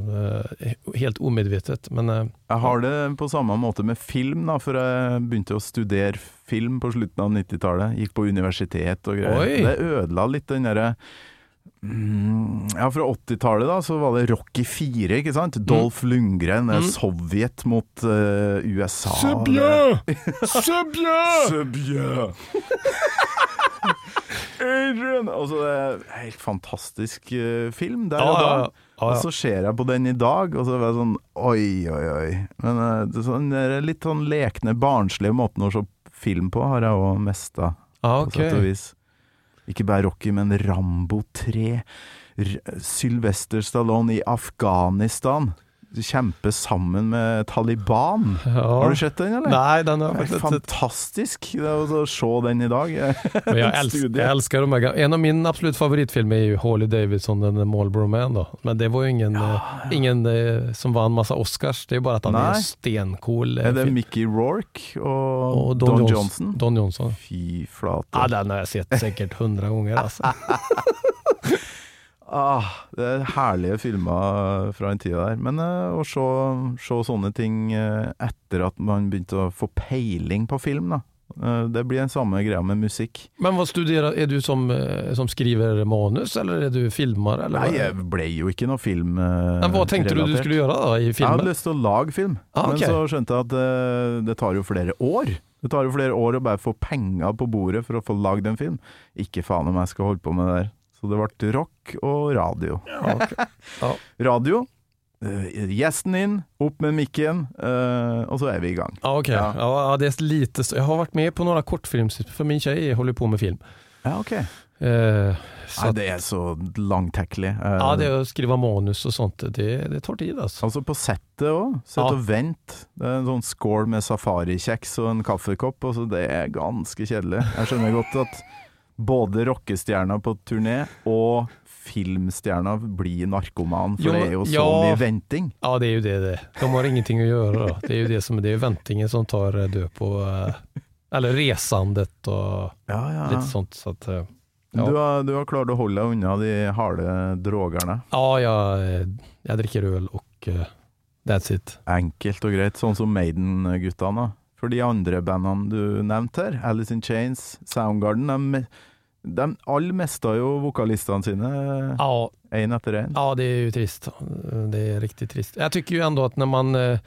eh, helt omedvetet. Men eh,
jeg har det på samme måte med film, da, for jeg begynte å studere film på slutten av 90-tallet. Gikk på universitet og greier.
Oi.
Det ødela litt den derre mm, ja, Fra 80-tallet da, så var det Rocky 4, ikke sant? Dolph Lundgren, det er Sovjet mot eh, USA. Subjø! Adrian! Altså, det er en helt fantastisk eh, film der
Ja,
og da.
ja, ja. Ja, ja.
Og så ser jeg på den i dag, og så var jeg sånn oi, oi, oi. Men eh, det er sånn, den der litt sånn lekne, barnslige måten å se film på har jeg òg mesta,
Ja,
på
okej.
sett og vis. Ikke bare Rocky, men Rambo 3. R Sylvester Stallone i Afghanistan. Kjempe sammen med Taliban.
Ja.
Har du sett den, eller?
Nej, den har jag
Det er
faktiskt inte sett.
fantastisk det er å se den i dag.
Men jag,
En
älsk,
studie.
jag älskar de här gam- En av mina absolut favoritfilmer är ju Harley Davidson, den där Marlboro Man då. Men det var ju ingen, eh, ingen eh, som vann massa Oscars. Det är bara att han är
Nej.
en stencool. eh,
Er det
film.
Mickey Rourke og,
Och
Don,
Jones-
Johnson?
Don Johnson.
Fy
Ja,
flate.
den har jag sett säkert hundra gånger alltså.
Ah, det er herlige filmer fra den tida der. Men eh, å se, se sånne ting eh, etter at man begynte å få peiling på film, da. Eh, det blir den samme greia med musikk.
Men vad studerar, är du som, eh, som skriver manus eller är du filmare? Eller
Nei,
vad?
jeg ble jo ikke noe film eh,
Men vad tänkte du du
relatert.
skulle göra då i
Jeg
filmen?
hadde lyst til å lage film,
Ah, ok.
men så skjønte jeg at eh, det tar jo flere år. Det tar jo flere år å bare få penger på bordet for å få lagd en film. Ikke faen om jeg skal holde på med det der. Så det ble rock og radio.
Ja, okej. ja.
Radio, eh, gjesten inn, opp med mikken, eh, og så er vi i gang.
Ja, okej.
Ja.
Ja. det är lite så. Jag har varit med på några kortfilms, för min tjej håller på med film.
Ja, ok.
Eh, så
Nei,
att,
det er så langtekkelig. Eh,
ja, det att skriva manus och sånt, det, det tar tid alltså.
Altså på settet òg. Sett
Ja.
og vent. Det er en sånn skål med safarikjeks og en kaffekopp, og så det er ganske kjedelig. Jeg skjønner godt at både rockestjerna på turné og filmstjerna blir narkoman, for
Jo,
det er jo så
ja.
mye venting.
Ja, det är ju det det. De har ingenting att göra. Då. Det är ju det som det är väntingen som tar eh, död på eh, eller resandet och
Ja, ja,
lite sånt. Så att, eh, ja.
Du, har, du har klart å holde deg unna de harde drogerne.
ja, jag, eh, jag dricker öl och eh, that's it.
Enkelt og greit, sånn som Maiden-guttene. For de andre bandene du nevnte her, Alice in Chains, Soundgarden, de, de alle mista jo vokalistene sine,
Ja,
én etter én.
Ja, det är ju trist. Det är riktigt trist. Jag tycker ju ändå att när man... eh,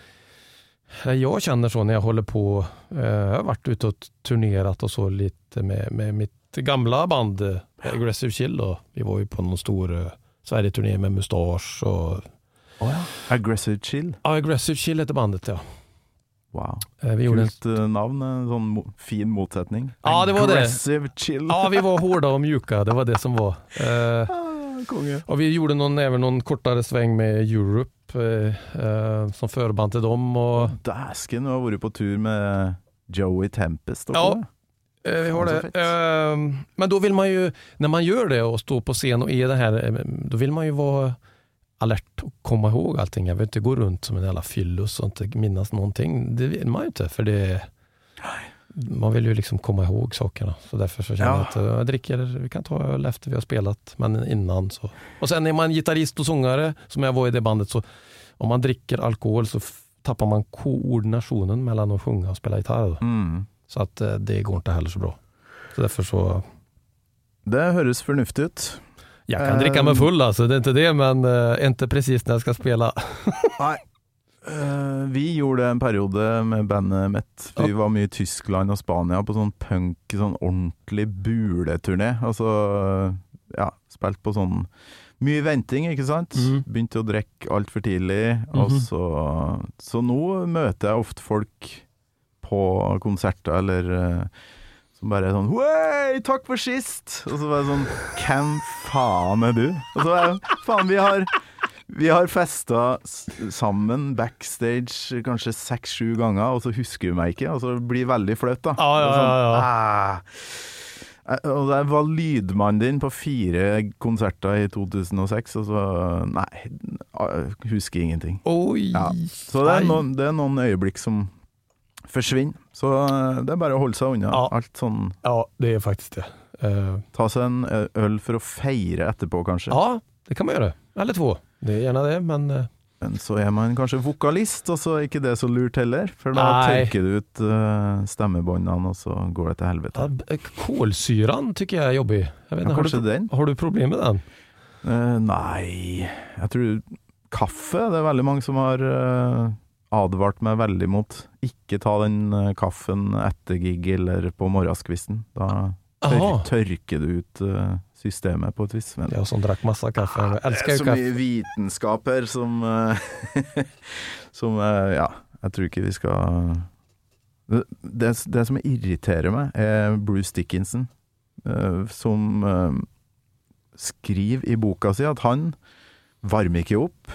Jag känner så när jag håller på... eh, Jag har varit ute och turnerat och så lite med, med mitt gamla band eh, Aggressive Chill. Då. Vi var ju på någon stor eh, Sverige-turné med Mustasch och...
Aggressive Chill.
Ja, Aggressive Chill heter bandet ja.
Wow.
Eh, Vi gjorde en...
Kult eh, navn. En sånn mo- fin motsetning.
Ja, det Ah. var det.
Aggressive Chill.
Ja, vi var hårda och mjuka. Det var det som var. Eh,
Konge.
Och vi gjorde någon, även någon kortare sväng med Europe eh, eh, som förband till dem. Och,
Dæsken, du har vært på tur med Joey Tempest.
Ja.
Også.
Eh, Vi har
Fan, så
det.
fett.
Ehm, Men då vill man ju, när man gör det och står på scen och är det här, eh, då vill man ju vara alert och komma ihåg allting. Jag vill inte gå runt som en jävla fyllus och inte minnas någonting. Det vill man ju inte, för det man vill ju liksom komma ihåg sakerna. Så därför så känner
Ja.
jag att eh, jag dricker, vi kan ta öl efter vi har spelat, men innan så. Och sen är man gitarrist och sångare, som jag var i det bandet, så om man dricker alkohol så f- tappar man koordinationen mellan att sjunga och spela gitarr. Då.
Mm.
Så att eh, det går inte heller så bra. Så därför så...
Det høres fornuftig ut.
Jag kan dricka
Eh,
mig full alltså, det är inte det, men eh, inte precis när jag ska spela.
Nei. Eh, vi gjorde en periode med bandet mitt. Vi var mye i Tyskland og Spania på sånn punk, sånn ordentlig buleturné. Altså, ja, spilt på sånn mye venting, ikke sant?
Mhm.
Begynte å drikke altfor tidlig. og
Mhm.
så, så nå møter jeg ofte folk på konserter eller eh, som bare er sånn Hei, takk for sist! Og så bare sånn Hvem faen er du? Og så er jeg, faen, vi har Vi har festa s- sammen backstage kanskje seks-sju ganger, og så husker hun meg ikke. Og så blir det veldig flaut, da.
Ja, ja, ja, ja.
Ah. Eh, Og jeg var lydmannen din på fire konserter i 2006, og så Nei, ah, husker ingenting.
Oi!
Ja. Så det er, noen, det er noen øyeblikk som forsvinner. Så eh, det er bare å holde seg unna
Ja.
alt sånn.
Ja, det er faktisk det. Eh,
Ta seg en eh, øl for å feire etterpå, kanskje.
ja, det kan man gjøre. Eller två. Det er gjerne det, men eh,
Men så er man kanskje vokalist, og så er ikke det så lurt heller. For da
Nei.
tørker du ut eh, stemmebåndene, og så går det til
ja,
helvete.
b- kålsyran tycker jeg er jobbig. Jeg vet,
Ja,
ikke, har,
kanskje
du,
den?
har du problem med den?
Eh, nei Jeg tror kaffe Det er veldig mange som har eh, advart meg veldig mot. Ikke ta den eh, kaffen etter gig eller på morgenskvisten. Da tør,
Jaha.
tørker du ut eh, systemet på et vis. Men
Jeg som sånn, drakk masse kaffe. Jeg
Ah, Det
elsker
er
jo
så
kaffe.
mye vitenskap her som eh, Som eh, Ja, jeg tror ikke vi skal Det, det, det som irriterer meg, er Bruce Dickinson, eh, som eh, skriver i boka si at han varmer ikke opp,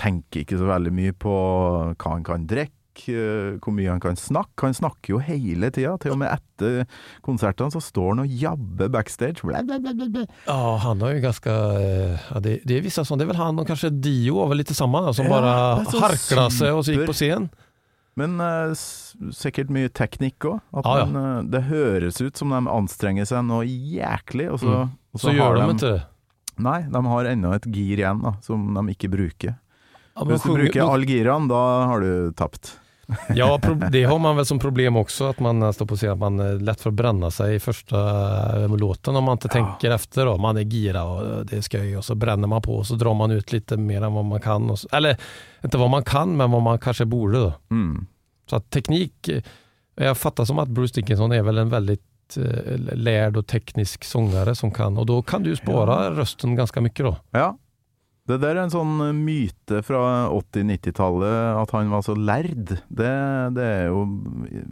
tenker ikke så veldig mye på hva han kan drikke. eh, Hvor mye han kan snakke. Han snakker jo hele tida. Til og med etter konsertene så står han og jabber backstage. Blæ, blæ, blæ, blæ, blæ.
Ja, han har ju ganska... eh, Ja, det, det är vissa som... Det är väl han och kanske Dio var väl lite samma, där, som
Ja,
bara
det är så
harklade sig och så gick på scen.
Men eh, s- sikkert mye teknikk òg.
Ja, ja.
eh, Det høres ut som de anstrenger seg noe jæklig, og
Mm.
så, og
Så, gör de inte det.
Nei, de har ennå et gir igjen da, som de ikke bruker.
Ja, men
Hvis du
sjunger-
bruker alle girene, da har du tapt.
Ja, pro- det har man väl som problem också, att man eh, står på scen, att man är lätt för att bränna sig i första eh, låten om man inte tänker efter. Då. Man är gira och eh, det ska ju och så bränner man på och så drar man ut lite mer än vad man kan. Och så, eller inte vad man kan, men vad man kanske borde. Då.
Mm.
Så att teknik, eh, jag fattar som att Bruce Dickinson är väl en väldigt eh, lärd och teknisk sångare som kan, och då kan du ju spara rösten ganska mycket då.
Ja. Det der er en sånn myte fra 80-90-tallet, at han var så lærd. Det, det er jo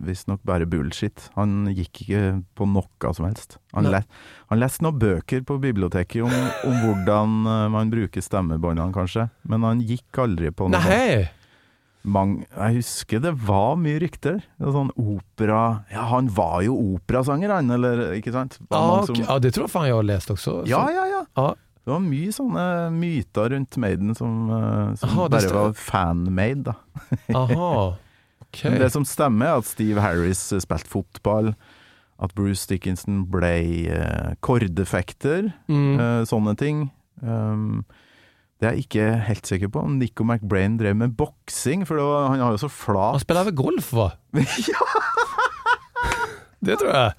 visstnok bare bullshit. Han gikk ikke på noe som helst. Han,
Nei.
les, han leste noen bøker på biblioteket om, om hvordan eh, man bruker stemmebåndene, kanskje. Men han gikk aldri på noe. sånt.
Nej,
Mang, jeg husker det var mye rykter. Det var sånn opera Ja, han var jo operasanger, han, eller ikke sant? Det var
ja,
mange som-
okej. ja, det tror jeg fan jag har läst också. Ah, Så-
ja, ja, ja.
Ja.
Det var mye sånne myter rundt Maiden som, eh, som
Aha, det
bare
sta-
var fan-made. da.
Aha, okej.
Men Det som stemmer, er at Steve Harris eh, spilte fotball, at Bruce Dickinson ble eh, kordefekter,
Mm.
eh, sånne ting. Um, det er jeg ikke helt sikker på. Nico McBrain drev med boksing, for det var, han har jo så
Han
flat
spelar väl golf va? Det tror jag.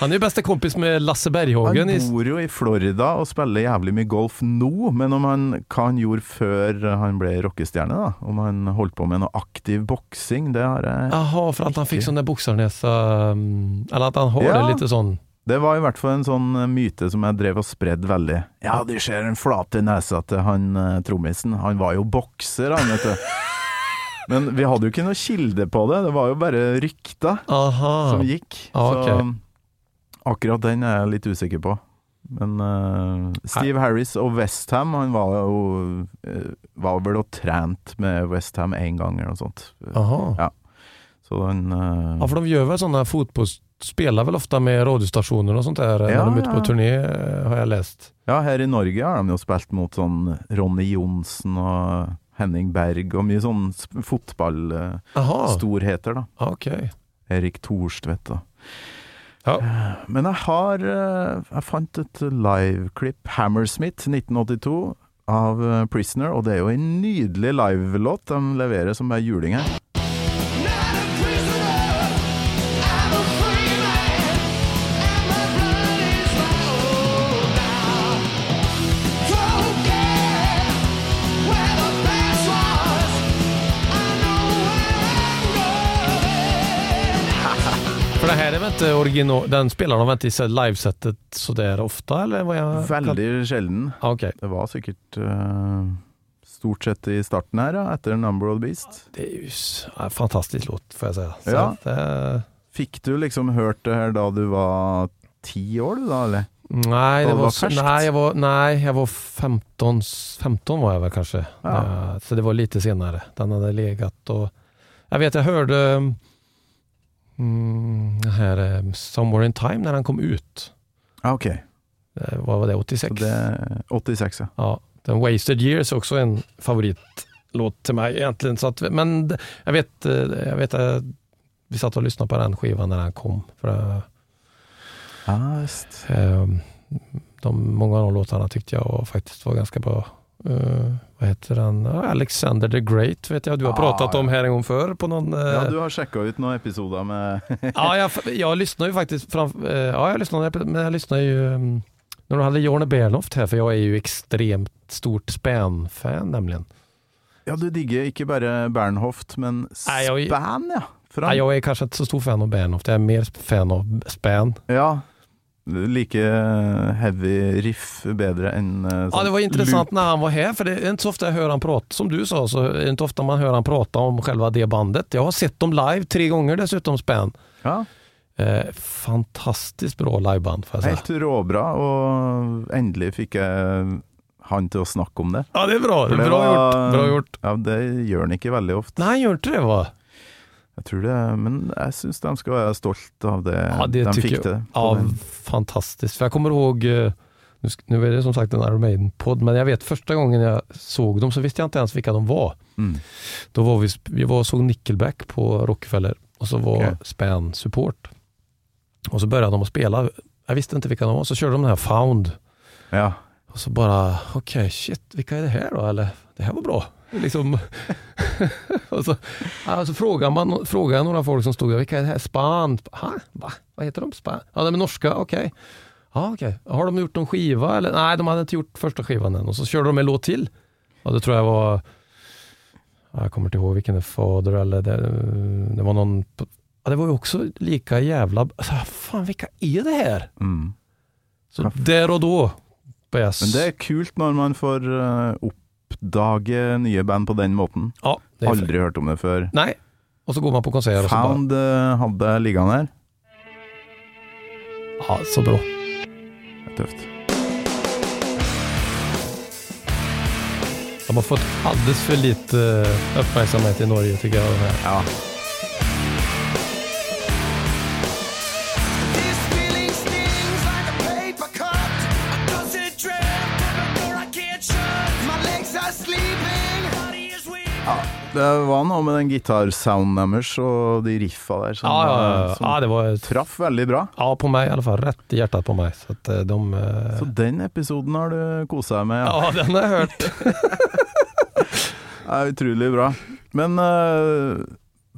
Han är ju bästa kompis med Lasse Berghagen.
Han
I...
bor jo i Florida og spiller jævlig mye golf nå, men om han, hva han gjorde før han ble rockestjerne, da, om han holdt på med noe aktiv boksing, det har jeg
Jaha, för att han fick sån där boxarnäsa, mm, eller att han har
Ja.
det sånn. lite sån.
Det var i hvert fall en sånn myte som jeg drev og spredde veldig. Ja, du ser den flate nesa til han eh, trommisen. Han var jo bokser, han, vet du. Men vi hadde jo ikke noe kilde på det, det var jo bare rykter
Aha.
som gikk.
Ah,
Så akkurat den er jeg litt usikker på. Men eh, Steve Harris og Westham, han var jo eh, Var vel og trent med Westham én gang eller noe sånt.
Aha.
Ja. Så han eh,
Ja, för de gör väl sådana fotbolls... Spelar väl ofta med radiostationer och sånt där när
Ja,
de är ute på
ja.
turné, eh, har jag läst.
Ja, her i Norge har de jo spilt mot sånn Ronny Johnsen og Henning Berg og mye sånn fotballstorheter,
Aha,
da.
Ja, okej.
Erik Thorstvedt og
Ja.
Men jeg har eh, Jeg fant et liveklipp, Hammersmith 1982, av eh, Prisoner, og det er jo en nydelig livelåt de leverer som er juling her.
Not a prisoner, I'm a free man, and my blood is my own now. Don't care where the past was, I know where I'm going.
För det här är väl inte original... Den spelar de väl inte i så- livesetet sådär ofta eller? Ah, Vad jag...
Veldig sjelden.
Ja, okej.
Det var sikkert eh, stort sett i starten her, ja, etter Number of the Beast.
Det är ju s- ja, fantastisk låt får jag säga. Så
Ja.
att, eh,
Fikk du liksom hørt det her da du var ti år, du da, eller?
Nei,
Da
det
du
var,
var
så-
ferskt?
nei, jeg var, nei, jeg var 15, s- 15 var jeg vel kanskje.
Ja.
Eh, Så det var lite senere. Den hadde legat og Jeg vet jeg hørte um, mm, den her eh, 'Somewhere in Time' når den kom ut.
Ja, Ah, ok.
Eh, Hva var det, 86?
Så det er 86, ja.
Ja, den 'Wasted Years' er også en favoritlåt til meg, egentlig. Så at, men det- jeg vet, eh, jeg vet eh, Vi satt og lyssnade på den skivan når den kom. For det,
ja visst.
Eh, De, många av de låtarna tyckte jag var- faktiskt var ganska bra. Eh, vad heter den? Ja, Alexander the Great vet jag du har
Ah,
pratat
ja.
om här en gång förr på någon... eh,
Ja, du har sjekka ut noen episoder med
ja, jag, jag lyssnar ju faktiskt fram, eh, ja, jag lyssnar, men jag lyssnar ju mm, när de hade Jorne Berloft här, för jag är ju extremt stort Span-fan nämligen.
Ja, du digger ikke bare Bernhoft, men
Nei, jeg-
Span, ja. Fra-
Nej, jag är kanske inte så stor fan av Berloft, jag är mer fan av Span.
Ja. Du liker heavy riff bedre enn eh,
Ja,
sånn
Ah, det var intressant när han var här, för det är inte så ofta jag hör han prata, som du sa, så är det inte ofta man hör han prata om själva det bandet. Jag har sett dem live tre gånger dessutom, Span.
loop. Ja,
Eh, fantastiskt bra liveband får jag säga.
helt råbra, og endelig fikk jeg han til å snakke om det.
Ja, det är bra.
For det
bra,
var-
gjort. bra gjort.
Ja, Det gjør han ikke veldig ofte.
Nej, han gör inte det va?
Jeg tror det, men jeg syns de skal være stolt av det,
Ja, det
de
tycker
fikk
jag.
til. på
Ja,
den.
fantastiskt. För jag kommer ihåg, eh, nu, sk- nu är det som sagt en Iron Maiden-podd, men jag vet första gången jag såg dem så visste jag inte ens vilka de var.
Mm.
Då var vi, sp- vi var och såg Nickelback på Rockefeller och så var
Okej.
Span support. Och så började de att spela. Jag visste inte vilka de var, så körde de den här Found.
Ja.
Och så bara, okej, shit, vilka är det här då? Eller, det här var bra. Liksom. och så, ja, så frågar, man, frågar jag några folk som stod där, vilka är det här? Span? Ha? Va? Vad heter de? Span? Ja, de är norska, okej. Ja, okej. Har de gjort någon skiva? Eller? Nej, de hade inte gjort första skivan än. Och så körde de en låt till. Ja, det tror jag var, ja, jag kommer inte ihåg vilken det Fader eller det, det var någon, ja, det var ju också lika jävla, alltså, fan vilka är det här?
Mm.
Så där och då började jag
Men det er kult når man får eh, oppdage nye band på den måten.
Ja, det är
Aldri hørt om det før.
Nej, och så går man på konserter och så bara,
Found eh, hadde jeg liggende her.
ja, så bra.
Tøft.
De har fått alldeles för lite eh, uppmärksamhet i Norge tycker jag. de här.
Ja.
This feeling stings like a paper cut. I doesn't dread, but the door I can't shut. My legs are sleeping, body is weak.
Det var noe med den gitarsounden deres og de riffa der som, eh,
Ja, ja, ja.
som
ja, det var
traff veldig bra.
ja, på mig i alla fall, rätt i hjärtat på mig. Så att eh, de... eh,
Så den episoden har du kosa deg med. Ja.
Ja, den har jag hört.
Det er utrolig bra. Men eh,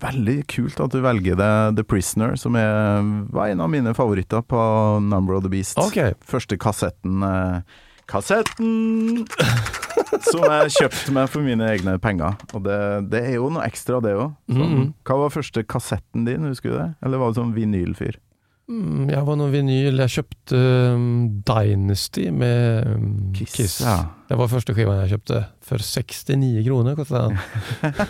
veldig kult at du velger deg The Prisoner, som er, var en av mine favoritter på Number of the Beast.
Okej.
Første kassetten eh, Kassetten! Som jeg kjøpte meg for mine egne penger. Og det, det er jo noe ekstra, det òg.
Mm.
Hva var første kassetten din, husker du det? Eller var du sånn vinylfyr?
Mm, jag var någon vinyl, jag köpte um, Dynasty med um, Kiss.
Ja.
Det var första skivan jag köpte för 69 kronor kostade den.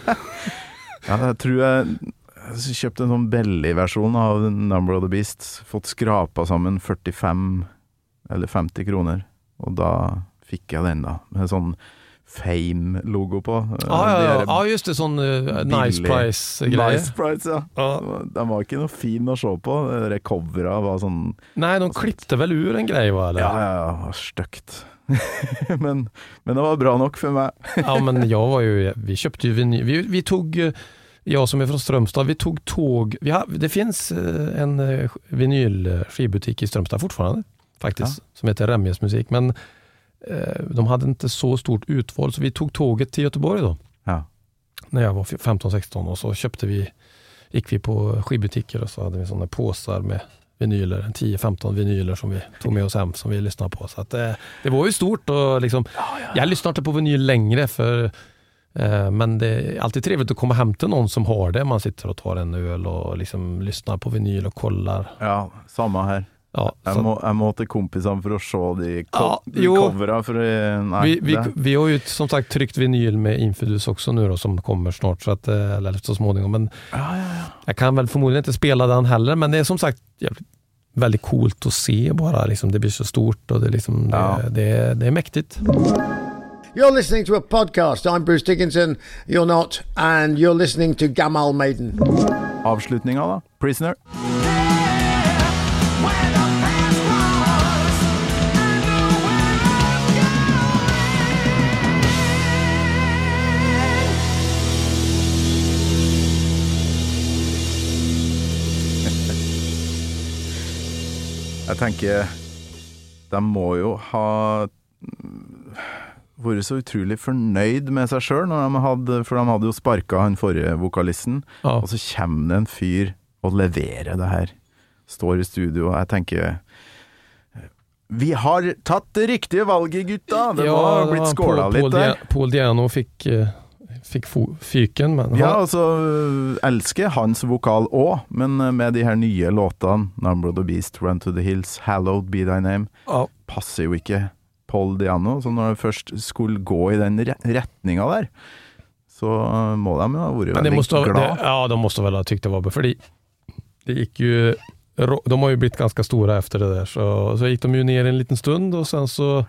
ja, jeg tror jeg kjøpte en sånn Belly-versjon av Number of the Beast. Fått skrapa sammen 45 eller 50 kroner, og da fikk jeg den, da. Med sånn Fame-logo på.
Ah, Ja, ja, ja.
De
ja, just det, sånn eh, nice
Billig.
price
der
grejer.
Nice Price, ja.
Ja.
Den var ikke noe fin å se på. De der Covera var sånn
Nej, de klippte väl ur en grej va? Eller?
Ja, ja, ja, var stygt. men, men det var bra nok for meg.
Ja men jag var ju, vi köpte ju vinyl, vi, vi tog, eh, jag som är från Strömstad, vi tog tåg, vi har, det finns eh, en eh, vinylskibutik i Strömstad fortfarande faktiskt, som heter Remjes musik, men eh, de hade inte så stort utval så vi tog tåget till Göteborg då,
Ja.
när jag var 15-16 och så köpte vi, gick vi på skibutiker och så hade vi sådana påsar med vinyler, 10-15 vinyler som vi tog med oss hem som vi lyssnade på. Så att, eh, det var ju stort och liksom, jag lyssnar inte på vinyl längre för eh, men det är alltid trevligt att komma hem till någon som har det. Man sitter och tar en öl och liksom lyssnar på vinyl och kollar.
ja, samme her.
Ja, så
Jeg må, jeg må til kompisene for å se de, co
Ja,
de
jo.
covera. For, eh, nei,
vi, vi,
det,
vi har ju som sagt tryckt vinyl med Infidus också nu då, som kommer snart, så att, eh, eller så småningom. Men
ja, ja, ja.
jag kan väl förmodligen inte spela den heller, men det är som sagt jävligt väldigt coolt att se bara. Liksom, det blir så stort och det, är liksom,
Ja.
det, det, det är mäktigt.
You're listening to a podcast. I'm Bruce Dickinson. You're not, and you're listening to Gamal Maiden.
Avslutninga, da. 'Prisoner'. Jeg tenker De må jo ha mm, vært så utrolig fornøyd med seg sjøl, for de hadde jo sparka han forrige vokalisten.
Ja.
Og så kommer det en fyr og leverer det her. Står i studio, og jeg tenker eh, Vi har tatt det riktige valget, gutta! Det må ha blitt skåla litt der.
Paul Diano fick, eh, fick fo- fyken, men
Ja,
han,
altså øh, Elsker hans vokal òg, men øh, med de her nye låtene, 'Number of the Beast', 'Run to the Hills', 'Hallowed Be Thy Name',
ja,
passer jo ikke Paul Diano. Så når han først skulle gå i den re- retninga der, så øh, må de jo ha vært
men det
veldig
måste, ha-
glad.
det, ja, de måste väl ha tyckt det var bra, för det, det gick ju ro- de har ju blivit ganska stora efter det där, så, så gick de ju ner en liten stund och sen så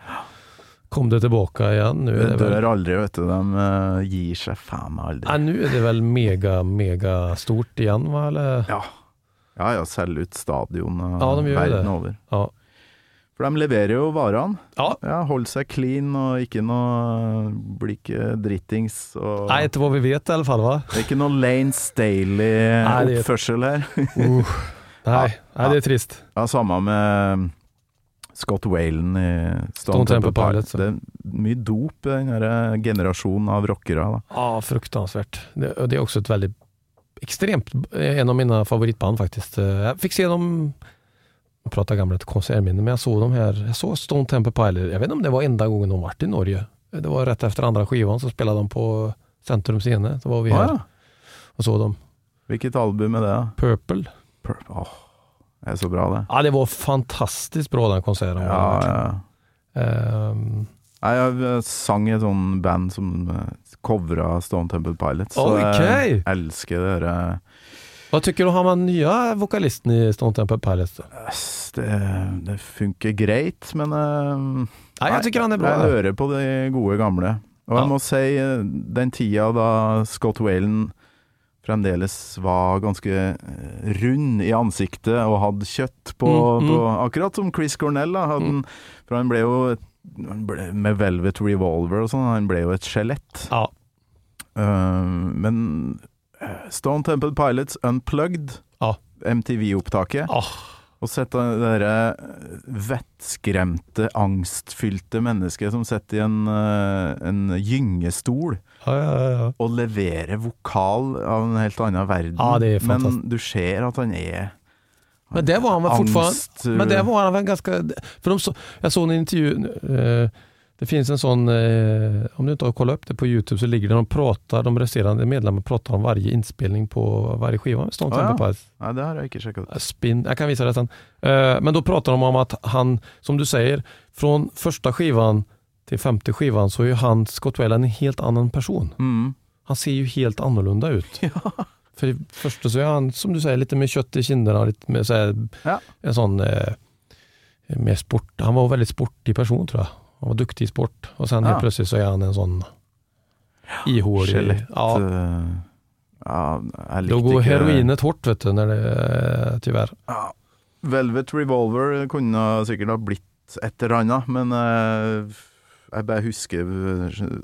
kom det tillbaka igen. Nu är
Det
det väl,
dør aldri, vet du. De øh, gir seg faen meg
ja,
aldri.
nu är det väl mega, mega stort igen, va? Eller?
Ja, ja, ja selge ut stadion øh,
Ja, de gjør
verden
det.
over.
Ja.
For de leverer jo varene.
Ja.
Ja, Hold seg clean og ikke noe eh, Blir ikke drittings. Og
Nej, inte vad vi vet i alla fall, va?
Det er ikke noe Lane
Nei, det-
Staley-oppførsel her.
Nej, nej det är trist.
Ja, samme med Scott Whalen i Stone,
Stone Temple
Temple Pilots.
Pilots, ja.
Det er mye dop i den her generasjonen av rockere. Da.
Ja, fruktansvärt. Det, och det är också ett väldigt extremt, en av mina favoritband faktiskt. Eh, Jag fick se dem, jag pratar gamla konsertminne, men jag såg dem här, jag såg Stone Temple Pilots, jag vet inte om det var enda gången de varit i Norge. Det var rätt efter andra skivan så spelade de på Centrum Scene, så var vi
Å,
här
ja.
och såg dem.
Hvilket album er det? da?
Purple.
Pur- Åh, det er så bra, det.
Ja, det var fantastiskt bra den konserten.
Ja, ja.
Ehm,
Nei, Jeg sang i et sånt band som covra Stone Temple Pilots. Så jeg
Okej.
elsker det der. eh,
vad tycker du om den nya vokalisten i Stone Temple Pilots? då?
Ass, Det, det funker greit, men eh,
Nej, jag tycker han är bra.
Jeg hører på de gode gamle. Og jeg
Ja.
må si, eh, den tida da Scott Whalen fremdeles var ganske eh, rund i ansiktet og hadde kjøtt på,
Mm, mm.
på Akkurat som Chris Cornell, da. Hadde, han- For han ble jo et- han ble, Med Velvet Revolver og sånn, han ble jo et skjelett.
Ja,
Eh, men eh, Stone Temple Pilots Unplugged,
Ja.
MTV-opptaket,
Ah.
og sett det derre vettskremte, angstfylte mennesket som sitter i en, eh, en gyngestol
ja, ja, ja.
og leverer vokal av en helt annen verden.
Ja, det er fantastisk.
Men du ser at han er
Men det var han väl fortfarande...
angst eh.
Men det var han väl ganska... För de så, jag såg en intervju, eh, det finns en sån, eh, om du inte har kollat upp det på Youtube så ligger det, de pratar, de resterande medlemmarna pratar om varje inspelning på varje skiva med Stone
Ah, ja.
Temple Pilots.
Nei, det har jeg ikke sjekka ut.
Spin, jag kan visa det sen. Eh, men då pratar de om att han, som du säger, från första skivan till femte skivan så är ju han, Scott Whalen, en helt annan person.
Mm.
Han ser ju helt annorlunda ut. För det första så är han, som du säger, lite med kött i kinderna. och Lite med så här,
Ja.
En sån eh, mer sport. Han var en väldigt sportig person tror jag. Han var duktig i sport. Och sen
Ja.
helt plötsligt så är han en sånn ihålig.
Skjelett
Ja,
eh, ja, jeg
då
likte
går
ikke-
heroinet hårt vet du, när det, eh, tyvärr.
Ja, Velvet Revolver kunne sikkert ha blitt et eller annet, men eh, jeg bare husker eh,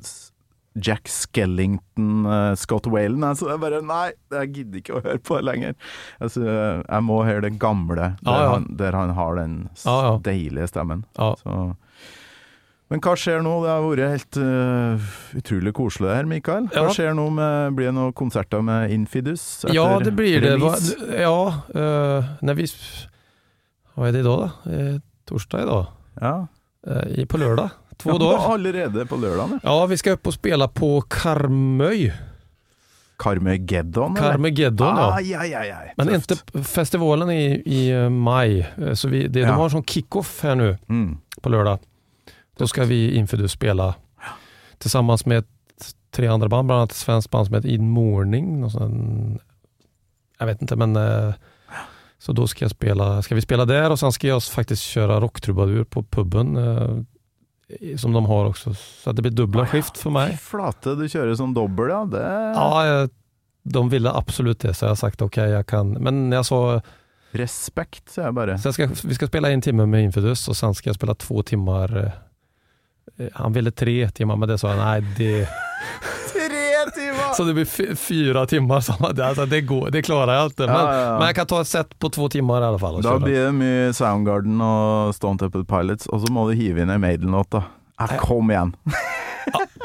Jack Skellington, eh, Scott Whalen. Så jeg bare Nei, jeg gidder ikke å høre på det lenger. Altså, jeg må høre det gamle, der,
Ja, ja.
Han, der han har den s-
Ja, ja.
deilige stemmen.
Ja.
Så. Men hva skjer nå? Det har vært helt eh, utrolig koselig her, Mikael.
Ja.
Hva skjer nå? Med, blir det noen konserter med Infidus? etter
Ja, det blir det. Va,
release?
ja, eh, när vi... Vad är det idag då? Eh, torsdag idag.
Ja.
Eh, i- på lördag. Två
Ja,
dagar.
Allerede på lørdagen, ja.
Ja, vi ska upp och spela på Karmøy.
Carmageddon? eller?
Karmageddon ja.
Ai, ai, ai, ai.
Men
Tøft.
inte festivalen är i, i eh, maj, eh, så vi, det,
Ja.
de har sån kick-off här nu
mm.
på lördag. Då ska vi Infidus spela tillsammans med ett- tre andra band, bland annat ett svenskt band som heter In Morning. Och sen, jag vet inte, men eh, Så då ska, jag spela, ska vi spela där och sen ska jag faktiskt köra rocktrubadur på puben eh, som de har också. Så att det blir dubbla skift för mig.
Fy flate, du kjører sånn dobbel, ja. Det er
Ja, eh, de ville absolut det, så jag har sagt okej, jag kan. Men när jag sa,
respekt, sier jeg bare.
sen ska, vi ska spela en timme med Infidus och sen ska jag spela två timmar. eh, Han ville tre timmar, men det sa jag nej, det...
Tre timer!
Så det blir fy- fyra timmar. som- Alltså, det, går, det klarar jag inte. Men,
Ja, ja, ja.
men jag kan ta ett set på två timmar i alla fall. och
Da
köra.
blir det mye Soundgarden og Stone Temple Pilots, og så må du hive inn en Maiden-låt, da.
Eh,
Ja, kom igjen!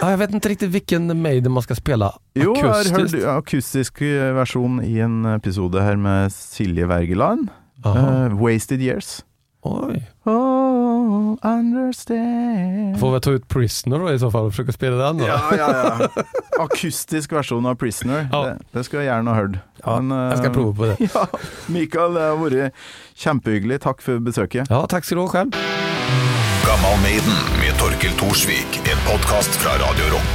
Ja, jag vet inte riktigt vilken Maiden man ska spela
Jo, jeg har hørt
akustiskt.
akustisk eh, versjon i en episode her med Silje Wergeland.
Jaha.
Eh, Wasted Years.
Oj.
Oh, understand
Jag får väl ta ut Prisoner då, i så fall och försöka spela den då.
Ja, ja, ja. Akustisk versjon av Prisoner.
Ja.
Det, det skulle jeg gjerne ha hørt.
Ja,
Men, eh,
Jag ska prova på det.
Ja, Mikael, det har vært kjempehyggelig. Takk for besøket.
Ja, tack ska du ha själv.
Gammal Maiden med Torkel Thorsvik. En podkast fra Radio Rock.